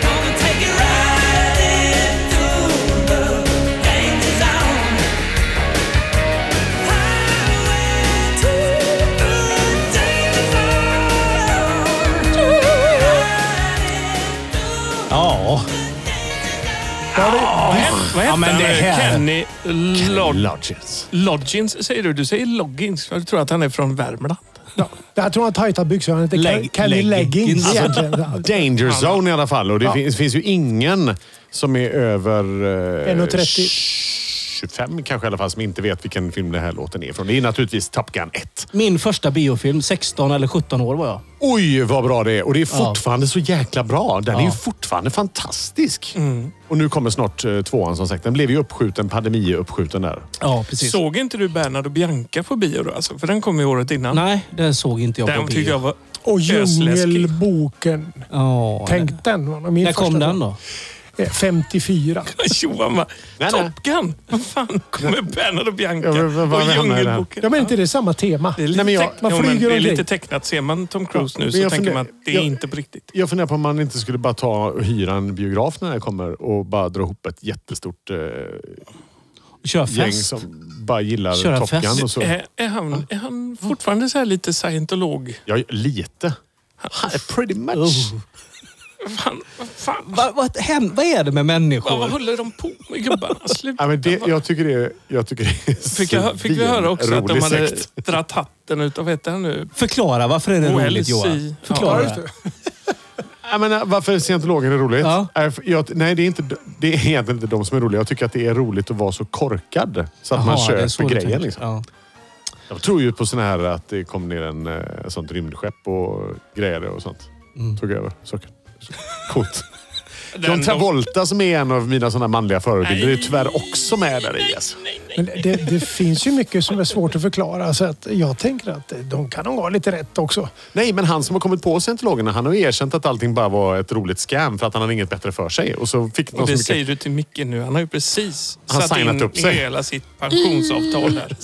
Gonna take it right into the danger zone. Highway to the danger zone. Right into Ja. the danger zone. Vad Ja, hette men han det nu? här- Kenny Lod- Lodges. Lodgins säger du. Du säger Loggins. Jag tror att han är från Värmland. Ja, jag tror han har tajta byxor. Han heter Leg- Leg- Kenny leggings. Leggings. Alltså, egentligen. Ja. Danger zone i alla fall. Och det finns, finns ju ingen som är över... Eh, 1,30. 25 kanske i alla fall, som inte vet vilken film den här låten är ifrån. Det är naturligtvis Top Gun 1. Min första biofilm, 16 eller 17 år var jag. Oj, vad bra det är! Och det är fortfarande så jäkla bra. Den är ju fortfarande fantastisk. Mm. Och nu kommer snart eh, tvåan som sagt. Den blev ju uppskjuten, pandemi-uppskjuten där. Ja, precis. Såg inte du Bernard och Bianca på bio då? Alltså, för den kom ju året innan. Nej, den såg inte jag den på bio. tyckte jag var Och ösläskig. Djungelboken. Ja, nej. Tänk den. var nog Min När kom första den film. då? Eh, 54. Johan bara, Nej, nej. Top Gun! Vad fan kommer Bernard och Bianca Ja, men vad- vad och menar du? Djungelboken? Ja, men inte det är samma tema. Det är lite, Nej, men jag- teck- man jo, men flyger det är omkring. lite tecknat. Ser man Tom Cruise Ja, nu men så jag tänker funderar- man att det är jag- inte på riktigt. Jag funderar på om man inte skulle bara ta och hyra en biograf när den här kommer och bara dra ihop ett jättestort eh, Kör gäng fest. som bara gillar Köra Top fest. Eh, Gun. Och så. Är, är, han, är han fortfarande så här lite scientolog? Ja, lite. Oh. Pretty much. Fan, vad fan, vad, Vad, vad, hän- vad är det med vad människor? håller de på med gubbarna? Sluta. Ja, men det, jag tycker det är... Jag tycker det är Fick, jag, fick vi höra också att de rolig hade sekt. dratt hatten utav, vad heter han nu? Förklara, varför är det OLC. roligt Johan? Ja, Förklara. just Jag menar, äh, varför scientologer är roligt? Ja. Är för- Jag, nej, det är, inte, det är egentligen inte de som är roliga. Jag tycker att det är roligt att vara så korkad så att man Jaha, det är så köper du grejer. tänker. Liksom. Ja. Jag tror ju på såna här att det kom ner en eh, sånt rymdskepp och grejer och sånt. Tog över saker. Så- Coolt. Den- John Travolta som är en av mina sådana manliga förebilder är ju tyvärr också med där i. Alltså. Nej, nej, Men det, det finns ju mycket som är svårt att förklara så att jag tänker att de kan nog ha lite rätt också. Nej, men han som har kommit på scientologerna, han har ju erkänt att allting bara var ett roligt scam för att han hade inget bättre för sig. Och så fick Och de så det mycket... säger du till Micke nu. Han har ju precis Han har satt signat in upp sig. hela sitt pensionsavtal här.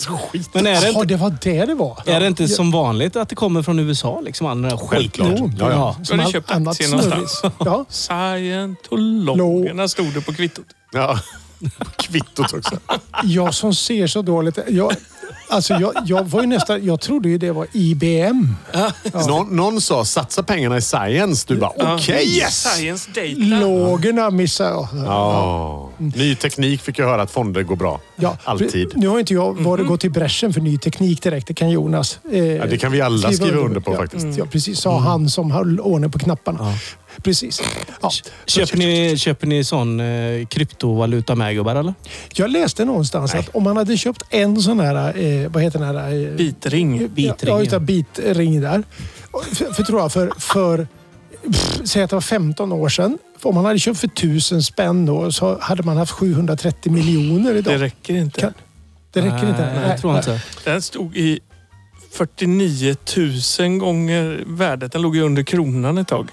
Men är det Jaha, inte, det var det det var. är det inte som vanligt att det kommer från USA? Liksom, all den där Självklart. skiten? Ja, ja. Som Du hade allt köpt annat aktier snurrigt. någonstans. Ja. Scientologerna stod det på kvittot. Ja. Kvittot också. Jag som ser så dåligt. Jag, alltså jag, jag var ju nästan... Jag trodde ju det var IBM. Någon, någon sa satsa pengarna i science. Du bara okej yes! Science data. Lågorna missade jag. Ja. Ny teknik fick jag höra att fonder går bra. Ja, Alltid. pre- Nu har inte jag varit gått i bräschen för ny teknik direkt. Det kan Jonas. eh, Ja, det kan vi alla skriva, under på ja, faktiskt. Mm. Ja, precis. Sa han som höll ordning på knapparna. Precis. Ja. Köper ni, köper ni sån eh, kryptovaluta med gubbar eller? Jag läste någonstans att om man hade köpt en sån här, eh, vad heter den här? Eh, Bitring. Bitring, Ja, ja. utan bitring där. Och För, för tror jag, för, för pff, säg att det var 15 år sedan. För Om man hade köpt för 1000 spänn då så hade man haft 730 miljoner idag. Det Det, räcker inte. Kan- räcker inte. Nej, jag tror inte. Den stod i 49 000 gånger värdet. Den låg ju under kronan ett tag.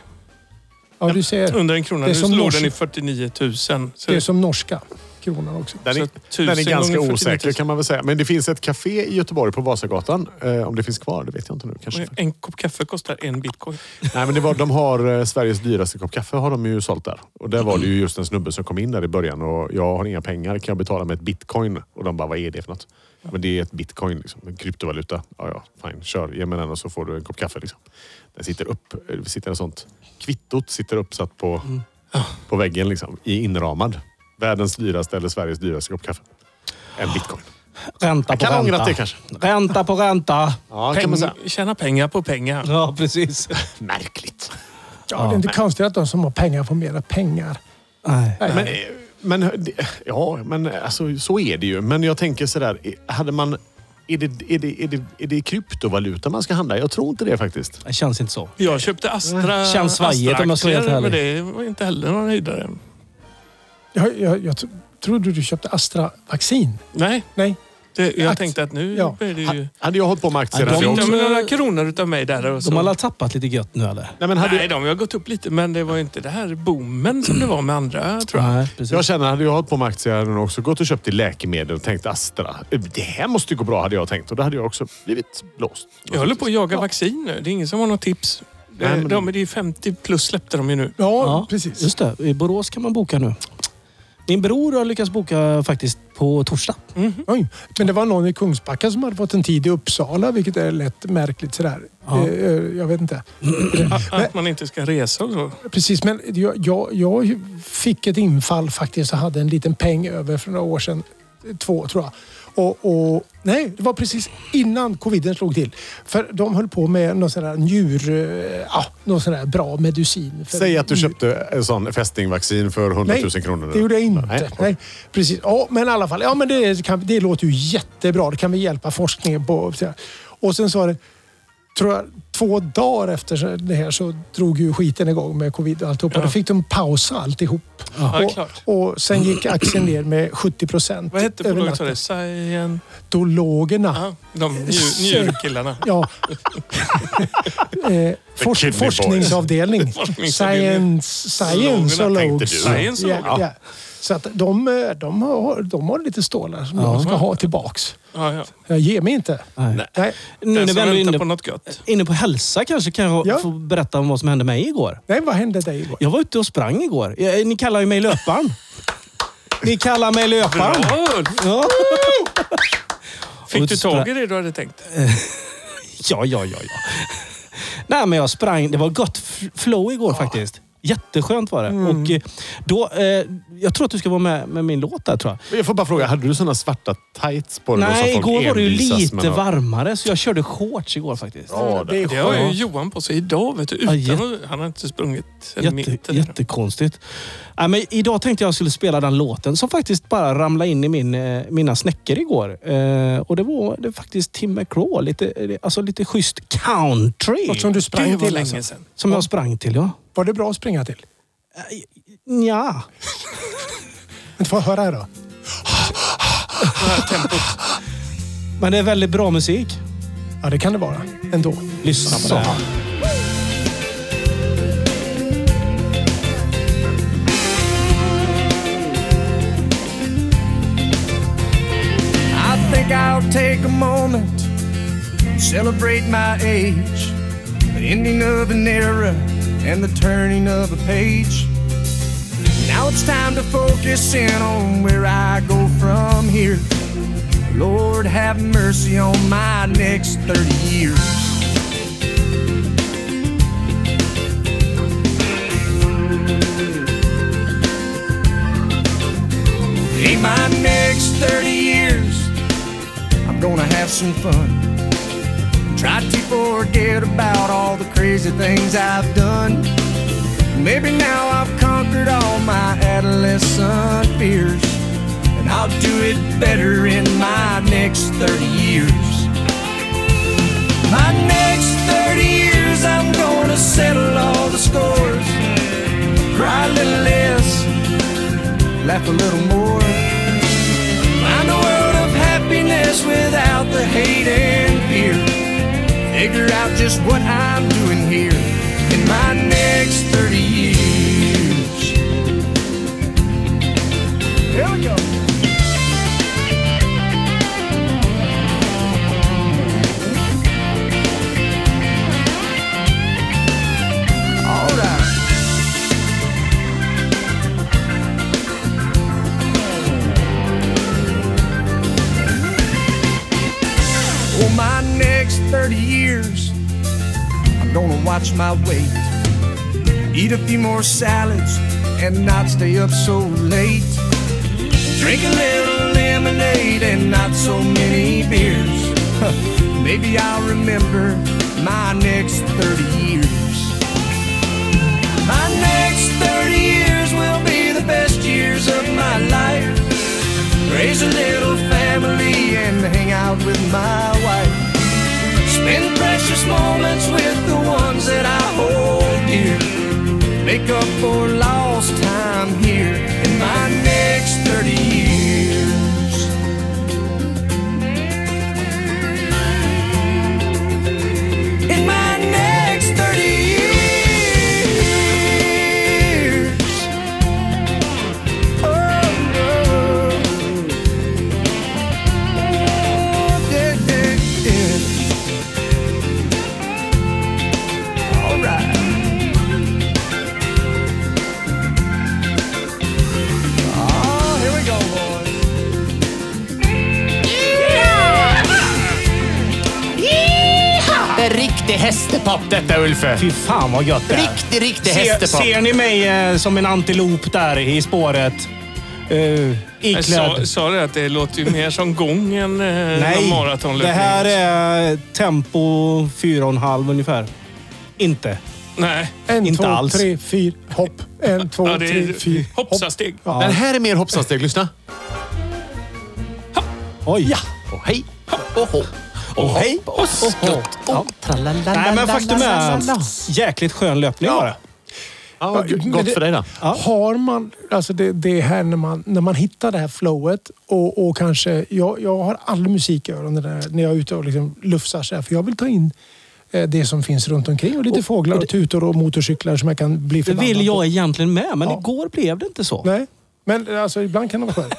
Ja, du ser. Under en krona. Det är Nu som slår norsk- den i 49 000. Så, Det är som norska kronan också. Den så är, tusen den är ganska gånger osäker 49 000. kan man väl säga. Men det finns ett café i Göteborg på Vasagatan. Eh, om det finns kvar, det vet jag inte nu. Kanske. en kopp kaffe kostar en bitcoin. Nej, men det var, de har eh, Sveriges dyraste kopp kaffe har de ju sålt där. Och där var det ju just en snubbe som kom in där i början och jag har inga pengar, kan jag betala med ett bitcoin? Och de bara, vad är det för något? Ja, men det är ett bitcoin, liksom, en kryptovaluta. Ja, ja, fine, kör. Ge mig den och så får du en kopp kaffe. Liksom. Den sitter upp, eh, sitter en sånt, kvittot sitter uppsatt på, på väggen, liksom, i inramad. Världens dyraste eller Sveriges dyraste kopp kaffe. En bitcoin. Ränta på kan ha ångrat ränta. det kanske. Ränta på ränta. Ja, kan man säga. Peng, tjäna pengar på pengar. Ja, precis. Märkligt. Ja, Det är inte konstigt att de som har pengar får mera pengar. Nej. Nej. Men, eh, men, eh, det- ja, men eh, alltså, så är det ju. Men jag tänker sådär, eh, hade man... Är det, är, det, är, det, är det kryptovaluta man ska handla? Jag tror inte det faktiskt. Det känns inte så. Jag köpte Astra Eh, Känns svajigt om jag ska vara helt Astra-aktier, men ärlig. det var inte heller någon höjdare. jag, jag, jag tro- trodde du köpte Astra-vaccin. Nej, Nej, det, jag Akt- tänkte att nu Ja. blir det ju... Hade jag hållit på med aktier Ja, hade jag Fick också... Mm. de några kronor utav mig där? Och så. De har alla tappat lite gött nu eller? Nej, men hade Nej, de har gått upp lite, men det var ju inte det här boomen som det var med andra, tror jag. Nej, precis. jag känner, hade jag hållit på med aktier hade jag nog också gått och köpt i läkemedel och tänkt Astra. Eh, Det här måste ju gå bra hade jag tänkt och då hade jag också blivit blåst. Jag håller på att jaga vaccin nu. Det är ingen som har något tips. Nej, men- de, det är ju 50 plus släppte de ju nu. ja, Ja, precis. Just det. I Borås kan man boka nu. Min bror har lyckats boka faktiskt på torsdag. Mm. Oj. Men det var någon i Kungsbacka som hade fått en tid i Uppsala, vilket är lätt märkligt sådär. Eh, eh, Jag vet inte. Att man inte ska resa och så. Precis, men jag, jag, jag fick ett infall faktiskt och hade en liten peng över för några år sedan. Två tror jag. Och, och, nej, det var precis innan coviden slog till. För de höll på med någon sån där njur... eh, Ja, någon sån där bra medicin. För Säg att du njur- köpte en sån fästingvaccin för 100 000 kronor. det gjorde jag inte. Nej. Nej. precis. Ja, men i alla fall. Ja, men det, kan, det låter ju jättebra. Det kan vi hjälpa forskningen på. Och sen så var det, tror jag, två dagar efter det här så drog ju skiten igång med covid och alltihopa. Då fick de pausa alltihop. Ja, klart. och, och sen gick aktien ner med 70 procent. Vad hette bolaget? sa du? Scient... Dologorna. Ja, de njur- njurkillarna. Ja. eh, fors, Kidney Boys. forskningsavdelning. Forskningsavdelning. Science, science och Zoologerna, tänkte logs. du. Science och Ja, logs. ja. Så att de, eh, de, har, de har lite stålar som de ska ha tillbaks. Ja, ja. Jag ger mig inte. Nej. Nej, Nu Den när vi som ändå är väntar på inne, något gött. inne på hälsa kanske kan jag Ja. få berätta om vad som hände mig igår. nej vad hände dig igår? Jag var ute och sprang igår. Eh, Ni kallar ju mig löparen. Ni kallar mig Bra! löparen. Ja. Fick du tag i det du hade tänkt? Ja, ja, ja, ja. Nej, men jag sprang. Det var gott f- flow igår faktiskt. Jätteskönt var det. Mm. Och eh, då, eh, jag tror att du ska vara med med min låt där tror jag. Jag får bara fråga, hade du sådana svarta tights på dig? då Nej, som folk igår var det ju envisas med lite att- varmare så jag körde shorts igår faktiskt. Ja, det- det är Det har ju skönt. Johan på sig idag. Vet du, Ja, utan jätte- att- han har inte sprungit en Jätte, meter. jättekonstigt. Nej, men idag tänkte jag skulle spela den låten som faktiskt bara ramlade in i min, eh, mina snäckor igår. Eh, och det var, det var faktiskt Tim McGraw. Lite, eh, alltså lite schysst country. Något som du Det sprang var till länge alltså. sedan. Som jag sprang till, ja. Var det bra att springa till? Nja. Men Få höra här då. det här tempot. Men det är väldigt bra musik. Ja, det kan det vara ändå. Lyssna på det här. I think I'll take a moment, celebrate my age, the ending of an era and the turning of a page. Now it's time to focus in on where I go from here. Lord, have mercy on my next 30 years. In my next 30 years, I'm gonna have some fun. Try to forget about all the crazy things I've done. Maybe now I've conquered all my adolescent fears, and I'll do it better in my next 30 years. My next 30 years, I'm gonna settle all the scores, cry a little less laugh a little more. Find a world of happiness without the hate and fear. Figure out just what I'm doing here in my next 30 years. Here we go. All right. For my next 30 years, I'm gonna watch my weight. Eat a few more salads and not stay up so late. Drink a little lemonade and not so many beers. Huh, Maybe I'll remember my next 30 years. My next 30 years will be the best years of my life raise a little family and hang out with my wife. Spend precious moments with the ones that I hold dear. Make up for lost time here in my next 30 years. In my next 30 years. Oh, no. Yeah, yeah, yeah. All right. Oh, here we go, boys. Det er riktig hestepapp, dette, Ulfe. Fy fan vad gött det är. Riktig, riktig Ser, hestepapp. ser ni mig eh, som en antilop där i spåret? Uh, Jag Eh, sa, iklädd. sa det att det låter ju mer som gång än eh, någon Nej, det maratonlöpning. här är tempo 4,5 ungefär. Inte. Nej, En, Inte två, alls. tre, fyra, hopp. En, två, ja, det tre, fyra, är hopp. hoppsasteg. Ja. Den här är mer hoppsansteg. Lyssna. Oj. Och hej och hopp. Och hej. Och skutt Ja. och tralala. Nej, men faktum är... Jäkligt skön löpning var det. Ja, vad Men Gott det- för dig då. Har man, alltså det, det är här när man, när man hittar det här flowet och, och kanske, jag, jag har all musik i öronen där, när jag är ute och liksom lufsar så här, för jag vill ta in eh, det som finns runt omkring och lite fåglar och tutor och motorcyklar som jag kan bli Det förbannad vill på. jag egentligen med, men Ja. igår blev det inte så. Nej, men alltså ibland kan det vara skönt.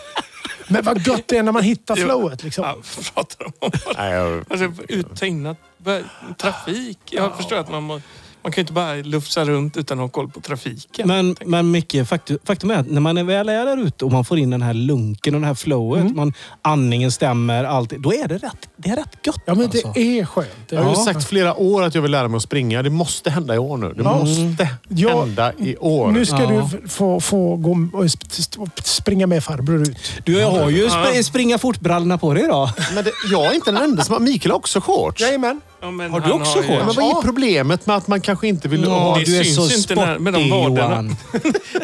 Men vad gött det är när man hittar flowet liksom. Ja, vad pratar de om? Nej, jag, Alltså, ut, ta in att, vad- trafik. Jag förstår att man, må, man kan ju inte bara lufsa runt utan att ha koll på trafiken. Men, men Micke, faktum, faktum är att när man är väl är där ute och man får in den här lunken och det här flowet, Mm. man, andningen stämmer, allt, då är det rätt, det är rätt gött. Ja, men alltså. det är skönt. jag har ju Ja. sagt flera år att jag vill lära mig att springa. Det måste hända i år nu. Det måste Ja. hända i år. Nu ska Ja. du f- få, få gå och sp- st- springa med farbror ut. Du, jag har ju sp- springa fort-brallorna på dig idag. Men det, jag är inte den enda som har... Mikael har också shorts. Jajamän. Ja, men Har du han också ju- hår? Men vad är problemet med att man kanske inte vill ha... det syns inte när- med de vaderna. Johan.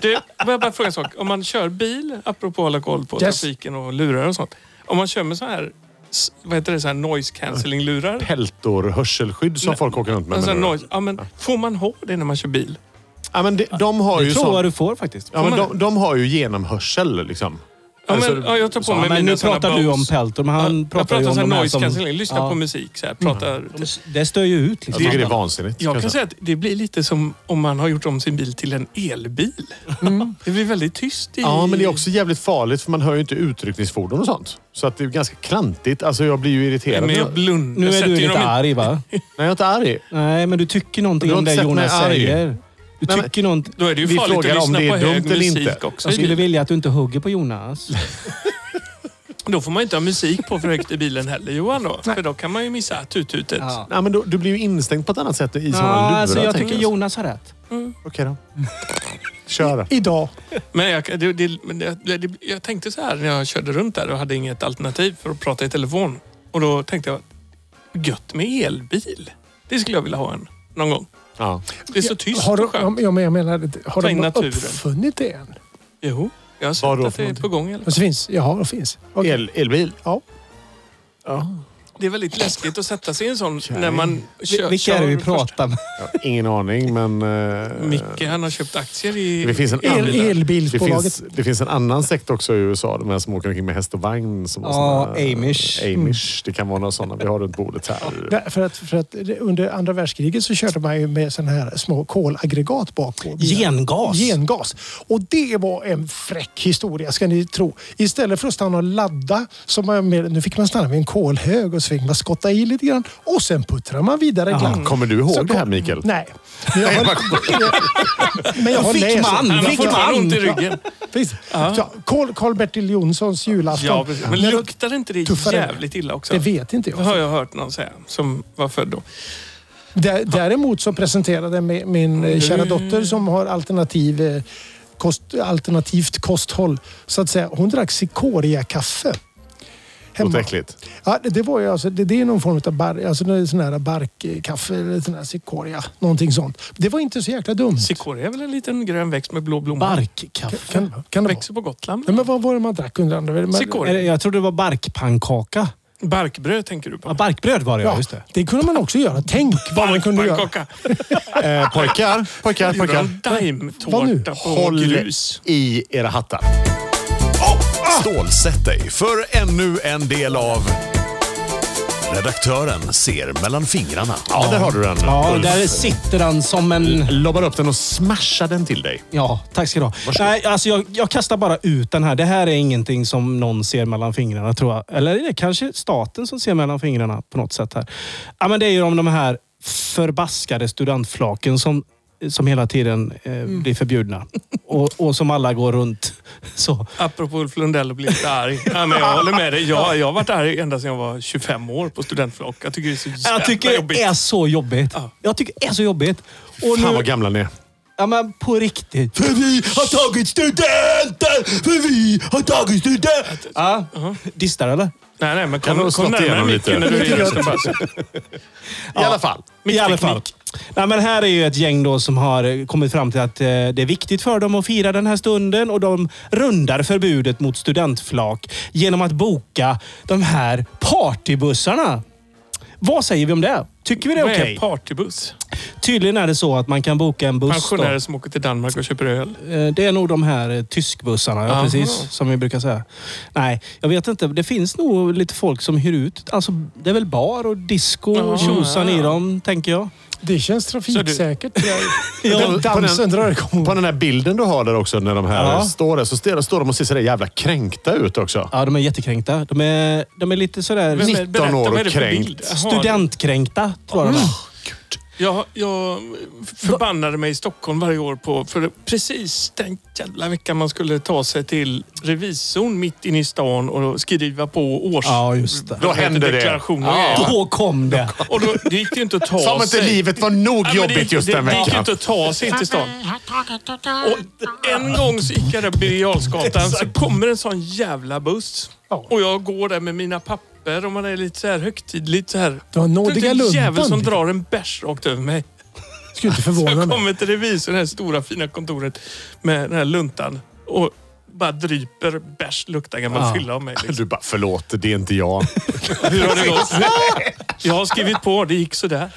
Du, får jag bara fråga en sak? Om man kör bil, apropå att hålla koll på Yes. trafiken och lurar och sånt. Om man kör med så här, s- vad heter det, så här noise cancelling-lurar? typ peltor, hörselskydd som folk åker runt med. Alltså menar du? noise, ja, men, får man ha det när man kör bil? Ja, men de, de har Det ju tror sån, jag du får faktiskt. ja, men man de, de har ju genomhörsel liksom. Ja, Alltså, men, ja, jag tar på Ja, mig men mina nu såna pratar du Bose. om Peltor, men Ja, han jag pratar ju om så här de här noise som... cancelling. Lyssna Ja. Mm. på musik. Så här, pratar, De, det stör ju ut Jag liksom. tycker det är vansinnigt. Jag kan kanske. säga att det blir lite som om man har gjort om sin bil till en elbil. Mm. Det blir väldigt tyst i... Ja, men det är också jävligt farligt för man hör ju inte utryckningsfordon och sånt. Så att det är ganska klantigt. Alltså jag blir ju irriterad. Men jag jag... blundar. Nu Jag är sätter du ju lite dem i- arg va? Nej, jag är inte arg. Nej, men du tycker Du någonting har om det inte sett Jonas mig arg. säger. Du Nej, men- tycker någonting. Då är det ju Vi farligt att frågar om lyssna det är på hög dumt eller musik inte. också. Jag skulle vilja att du inte hugger på Jonas. Då får man ju inte ha musik på för högt i bilen heller Johan då. För då kan man ju missa tututet. Ja. Nej, men då, du blir ju instängd på ett annat sätt i sådana lurar. alltså jag tycker tänker Jonas har rätt. Okej då. Kör. Idag. Men, jag, det, det, men det, det, jag tänkte så här när jag körde runt där och hade inget alternativ för att prata i telefon. Och då tänkte jag, gött med elbil. Det skulle jag vilja ha en någon gång. Ja. Det är så tyst Har och skönt. de, ja, men jag menar, har Ta in de naturen. uppfunnit det än? Jo, jag har sett Vad då att för det är någonting? på gång. Eller? Alltså finns, jaha, det finns. Okej. El, elbil. Ja. Det är väldigt läskigt att sätta sig i en sån när man kör. Vilka är det vi kör pratar med? Ingen aning, men... först. eh, Micke, han har köpt aktier i... Det finns en i El, elbilar. Det elbilsbolaget. finns, det finns en annan sekt också i USA, de här som åker omkring med häst och vagn. Som har Ja, såna- eh, Amish. Mm. Amish. Det kan vara några sådana vi har runt bordet här. Där- För att, för att det- under andra världskriget så körde man ju med sådana här små kolaggregat bak på bilarna. Gengas. Gengas. Och det var en fräck historia ska ni tro. Istället för att stanna och ladda, så man med, nu fick man stanna vid en kolhög och så fick man skotta i lite grann och sen puttrar man vidare glatt. Kommer du ihåg Så det här kom- Mikael? Nej. Men jag har, men jag har Fick läst. man, Han har Fick fortfarande man? ont i ryggen. Precis. Ja, Karl-Bertil Jonssons julafton. Ja, precis. men När de- luktar inte det tuffare. jävligt illa också? Det vet inte jag. Det har jag hört någon säga som var född då. Dä- Däremot så presenterade mi- min Mm. eh, kära dotter som har alternativ, eh, kost, alternativt kosthåll, så att säga. Hon drack cikoriakaffe. Låter Hemma. äckligt. Ja, det, det, var ju alltså, det, det är någon form av bar, alltså det är sån här barkkaffe, eller sån här cikoria, någonting sånt. Det var inte så jäkla dumt. Cikoria är väl en liten grön växt med blå blommor? Barkkaffe. kan, kan det vara? Växer på Gotland. Nej, men vad var det man drack under andra världskriget? Cikoria. Eller, Jag trodde det var barkpannkaka. Barkbröd tänker du Ja, på? barkbröd var det ja, Ja, just det. det kunde man också göra. Tänk vad man kunde göra. Barkkaka. Eh, pojkar, pojkar, Gjorde pojkar. han Vad nu? daimtårta på Håll grus? i era hattar. Stålsätt dig för ännu en del av Redaktören ser mellan fingrarna. Ja, där har du den. Ja, Ulf. där sitter han som en... Lobbar upp den och smashar den till dig. Ja, tack ska du ha. Varsågod. Nej, alltså jag, jag kastar bara ut den här. Det här är ingenting som någon ser mellan fingrarna, tror jag. Eller är det kanske staten som ser mellan fingrarna på något sätt här. Ja, men det är ju om de här förbaskade studentflaken som, som hela tiden eh, blir förbjudna. Och, och som alla går runt. Så. Apropå Ulf Lundell och bli lite arg. Ja, men jag håller med dig. Jag, jag har varit arg ända sedan jag var 25 år på studentflock. Jag tycker det är så jävla Jag tycker jobbigt. det är så jobbigt. Ja. Jag tycker det är så jobbigt. Och Fan nu, vad gamla ni är. ja, men på riktigt. För vi har tagit studenten! För vi har tagit Uh-huh. studenten! Ja. Distar eller? Nej, nej, men Jag har kom, nog kom slått närmare igenom micken lite. när du är gäst. I alla fall. I alla fall. Nej, men här är ju ett gäng då som har eh, kommit fram till att eh, det är viktigt för dem att fira den här stunden och de rundar förbudet mot studentflak genom att boka de här partybussarna. Vad säger vi om det? Tycker vi det är Vad är okej? partybuss? Tydligen är det så att man kan boka en buss. Då. Pensionärer som åker till Danmark och köper öl. Eh, Det är nog de här eh, tyskbussarna, ja, Aha. precis. Som vi brukar säga. Nej, jag vet inte. Det finns nog lite folk som hyr ut. Alltså, det är väl bar och disco Ja, och tjosan ja, ja. i dem, tänker jag. Det känns trafiksäkert. Den på dansen den- drar igång. På den här bilden du har där också när de här Ja. står där så står står de och ser så där jävla kränkta ut också. Ja, de är jättekränkta. De är, de är lite sådär... Vem är- 19 berätta, år vad är det för kränkt. bild? Jaha, Studentkränkta, tror jag de är. Jag, jag förbannade mig i Stockholm varje år på, för precis den jävla veckan man skulle ta sig till revisorn mitt inne i stan och skriva på års... Ja, just det. vad heter händer det. Deklarationer. Då kom det. Och då, det gick ju inte att ta Som sig. inte livet var nog Nej, men jobbigt det, just den det, Det gick ju veckan. inte att ta sig in till stan. Och en gång så gick jag där Birger Jarlsgatan så kommer en sån jävla buss. Och jag går där med mina papper och man är lite så här högtidligt så här. Du har nådiga Det är en jävel luntan. som drar en bärs rakt över mig. Skulle Så inte förvåna jag mig. kommer till revisorn, det här stora fina kontoret med den här luntan. Och bara dryper bärs, luktar gammal Ja. fylla av mig. Liksom. Du bara, förlåt, det är inte jag. Hur har det gått? Jag har skrivit på, det gick sådär.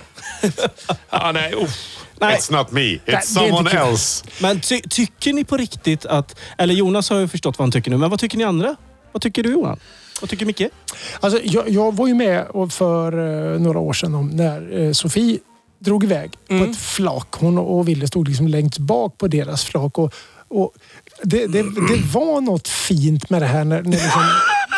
Ja, nej, uff. Nej, It's not me, är it's someone inte kul. else. men ty, tycker ni på riktigt att... Eller Jonas har ju förstått vad han tycker nu, men vad tycker ni andra? Vad tycker du Johan? Vad tycker Micke? Alltså, jag, jag var ju med och för eh, några år sedan om när eh, Sofie drog iväg Mm. på ett flak. Hon och Wille stod liksom längst bak på deras flak. Och, och det, det, det var något fint med det här. När, när liksom,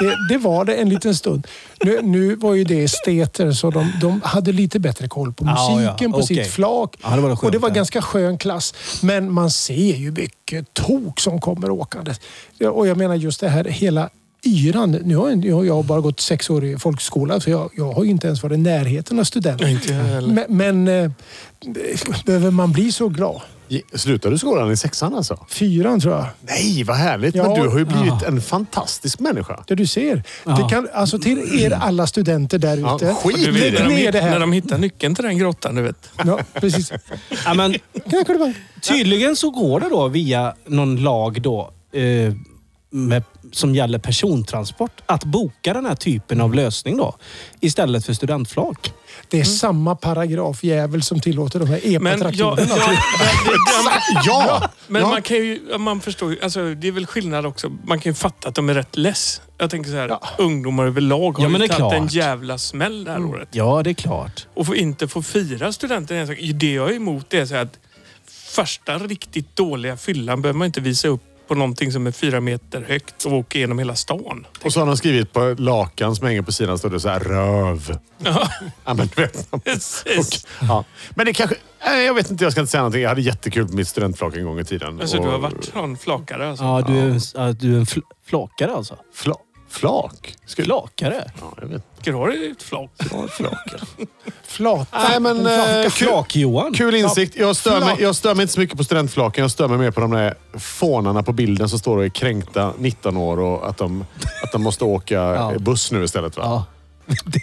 det, det var det en liten stund. Nu, nu var ju det esteter så de, de hade lite bättre koll på Ja, ja, musiken, på okej. sitt flak. Ja, det var skönt och det var det. ganska skön klass. Men man ser ju mycket tok som kommer åkandes. Ja, Och jag menar just det här hela yran. Nu har jag- jag har jag bara gått sex år i folkskola så jag, jag har ju inte ens varit i närheten av student. Inte jag heller. Men, men eh, behöver man bli så glad? Ge- Slutar du skolan i sexan alltså? Fyran tror jag. Nej, vad härligt. Ja. Men du har ju blivit en fantastisk människa. Det du ser. Det kan, alltså till er alla studenter där Ja, ute. skit Du i vet, Lägg när, det. de, ner det hitt- här. när de hittar nyckeln till den grottan, du vet. Ja, precis. Ja, men, Knack och bang. tydligen så går det då via någon lag då, eh, med, som gäller persontransport att boka den här typen av lösning då istället för studentflak. Det är samma paragrafjävel som tillåter de här Mm. Men, jag, jag, epatraktorerna. Ja! men ja. man kan ju, man förstår ju, alltså, det är väl skillnad också. Man kan ju fatta att de är rätt less. Jag tänker så här, ungdomar överlag har Ja, men det ju är tagit en klart. jävla smäll det här året. Ja, det är klart. Och får inte få fira studenten ens. Det jag är emot är så här att första riktigt dåliga fyllan behöver man inte visa upp på någonting som är fyra meter högt och åka genom hela stan. Och så har de skrivit på lakan som hänger på sidan, står det så här röv. Ja, men, du vet. Precis. ja. men det kanske... Nej, jag vet inte, jag ska inte säga någonting. Jag hade jättekul på mitt studentflak en gång i tiden. Alltså, Och- du har varit sån flakare alltså. Ja, du är, ja, du är en fl- flakare alltså. Fla, flak? Ska- Flakare? Ja, jag vet Ska du ha dig ett flak? inte. Ja, Flak. Flata. Nej, men eh, kul, Flak-Johan? kul insikt. Jag stör, mig, Flak. jag stör mig inte så mycket på studentflaken. Jag stör mig mer på de där fånarna på bilden som står och är kränkta 19 år och att de, att de måste åka buss nu istället. Va? Ja.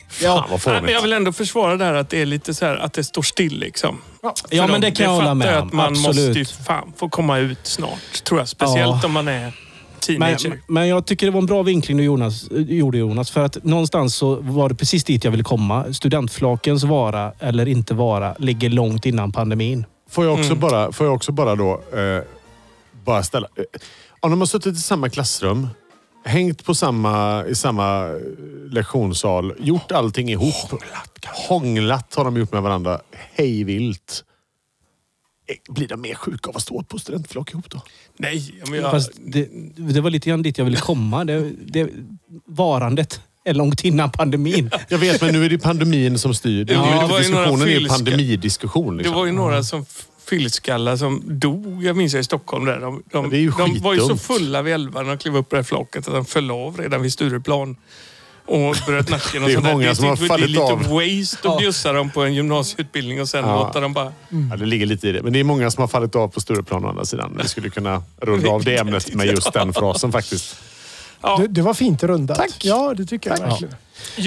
Fan vad Nej, men jag fånigt. vill ändå försvara det här att det är lite så här att det står still liksom. För Ja, men dem. det kan jag hålla fattar med jag om. att man måste ju Absolut. fan få komma ut snart, tror jag. Speciellt Ja. om man är Men, teenager. men jag tycker det var en bra vinkling du Jonas, eh, gjorde Jonas. För att någonstans så var det precis dit jag ville komma. Studentflakens vara eller inte vara ligger långt innan pandemin. Får jag också bara, får jag också bara då... Eh, bara ställa... Eh, om de har suttit i samma klassrum, hängt på samma, i samma eh, lektionssal, gjort allting ihop. Hånglat, har de gjort med varandra hej vilt. Eh, Blir de mer sjuka av att stå på studentflak ihop då? Nej, men jag... Fast det, det var lite grann dit jag ville komma. Det, det, varandet är långt innan pandemin. Jag vet, men nu är det ju pandemin som styr. Det, Ja, är ju det var inte diskussionen ju några det är ju filska- pandemidiskussion. Det Liksom. var ju några som f- fyllskallar som dog, jag minns jag, i Stockholm. Där. De, Ja, de, det är ju de var ju så skitdumt. fulla vid elvan när de klev upp på det här flaket att de föll av redan vid Stureplan. Och bröt nacken och Det är sånt där. många som har typ- fallit Det är av. lite waste att bjussa dem på en gymnasieutbildning och sen låta dem bara... Ja, det ligger lite i det. Men det är många som har fallit av på Stureplan å andra sidan. Vi skulle kunna runda av det ämnet med just den frasen faktiskt. Det, det var fint rundat. Tack. Ja, det tycker jag verkligen.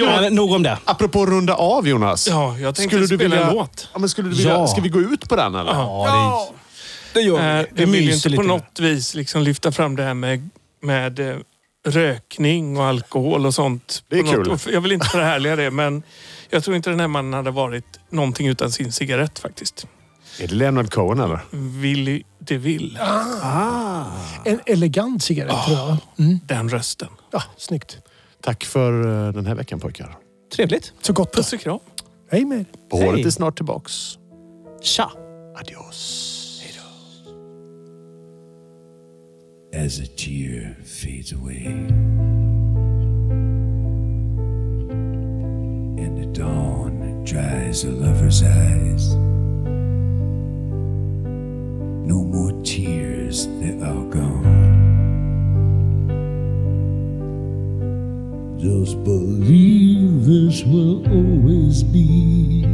Men, nog om det. Apropå runda av Jonas. Ja, jag tänkte spela en låt. Ja, men skulle du vilja, Ja. Ska vi gå ut på den eller? Ja, det, det gör Eh, Det jag vill ju myser inte lite. på något vis liksom lyfta fram det här med, med eh, rökning och alkohol och sånt. Det är På något- kul. och för- Jag vill inte förhärliga det, men jag tror inte den här mannen hade varit någonting utan sin cigarett faktiskt. Är det Leonard Cohen eller? Willy DeVille, En elegant cigarett Ah. tror jag. den rösten. Ja, snyggt. Tack för eh, den här veckan pojkar. Trevligt. Så gott då. Puss och kram. Hej med er. På Hej. håret är snart tillbaks. Tja! Adios. As a tear fades away, and the dawn dries a lover's eyes, no more tears, they're all gone. Just believe this will always be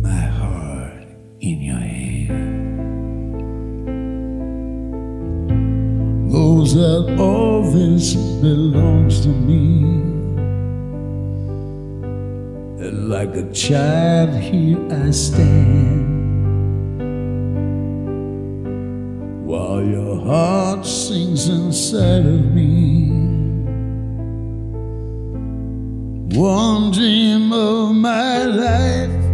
my heart in your hand. knows that all this belongs to me. And like a child, here I stand, while your heart sings inside of me. One dream of my life,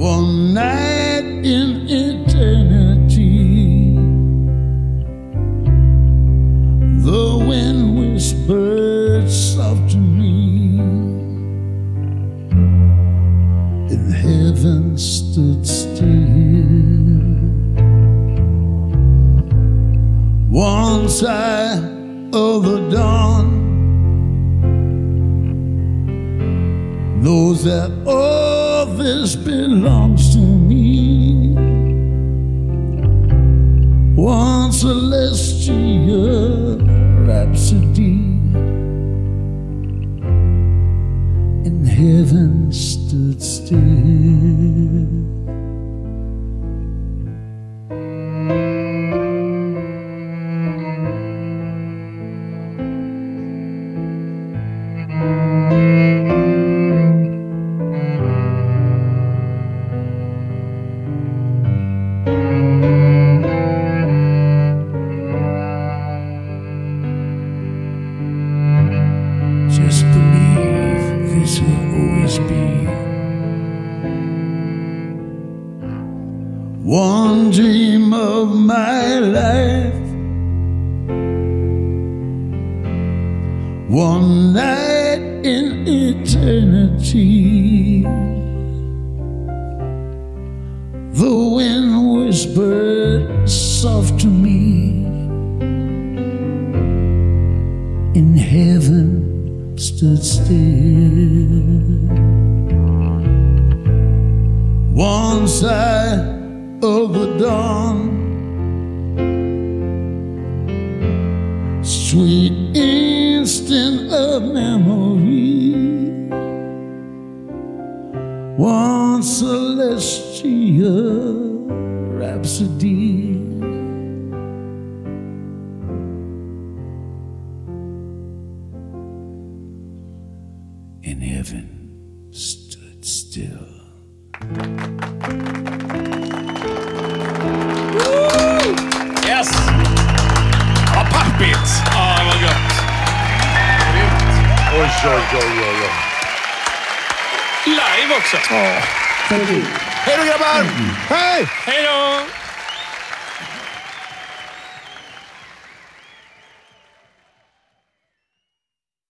one night in eternity. The wind whispered soft to me and heaven stood still. One side of the dawn knows that all this belongs to me. One celestial rhapsody and heaven stood still. Just believe this will always be one dream of my life, one night in eternity. The wind whispered soft to me in heaven stood still. One side of the dawn, sweet instant of memory. One celestial rhapsody. and heaven stood still. Yes! Vad pampigt! Ja, det var gött. Oj, oj, oj, oj, oj. Live också. Hej då grabbar! Hej! Hej då!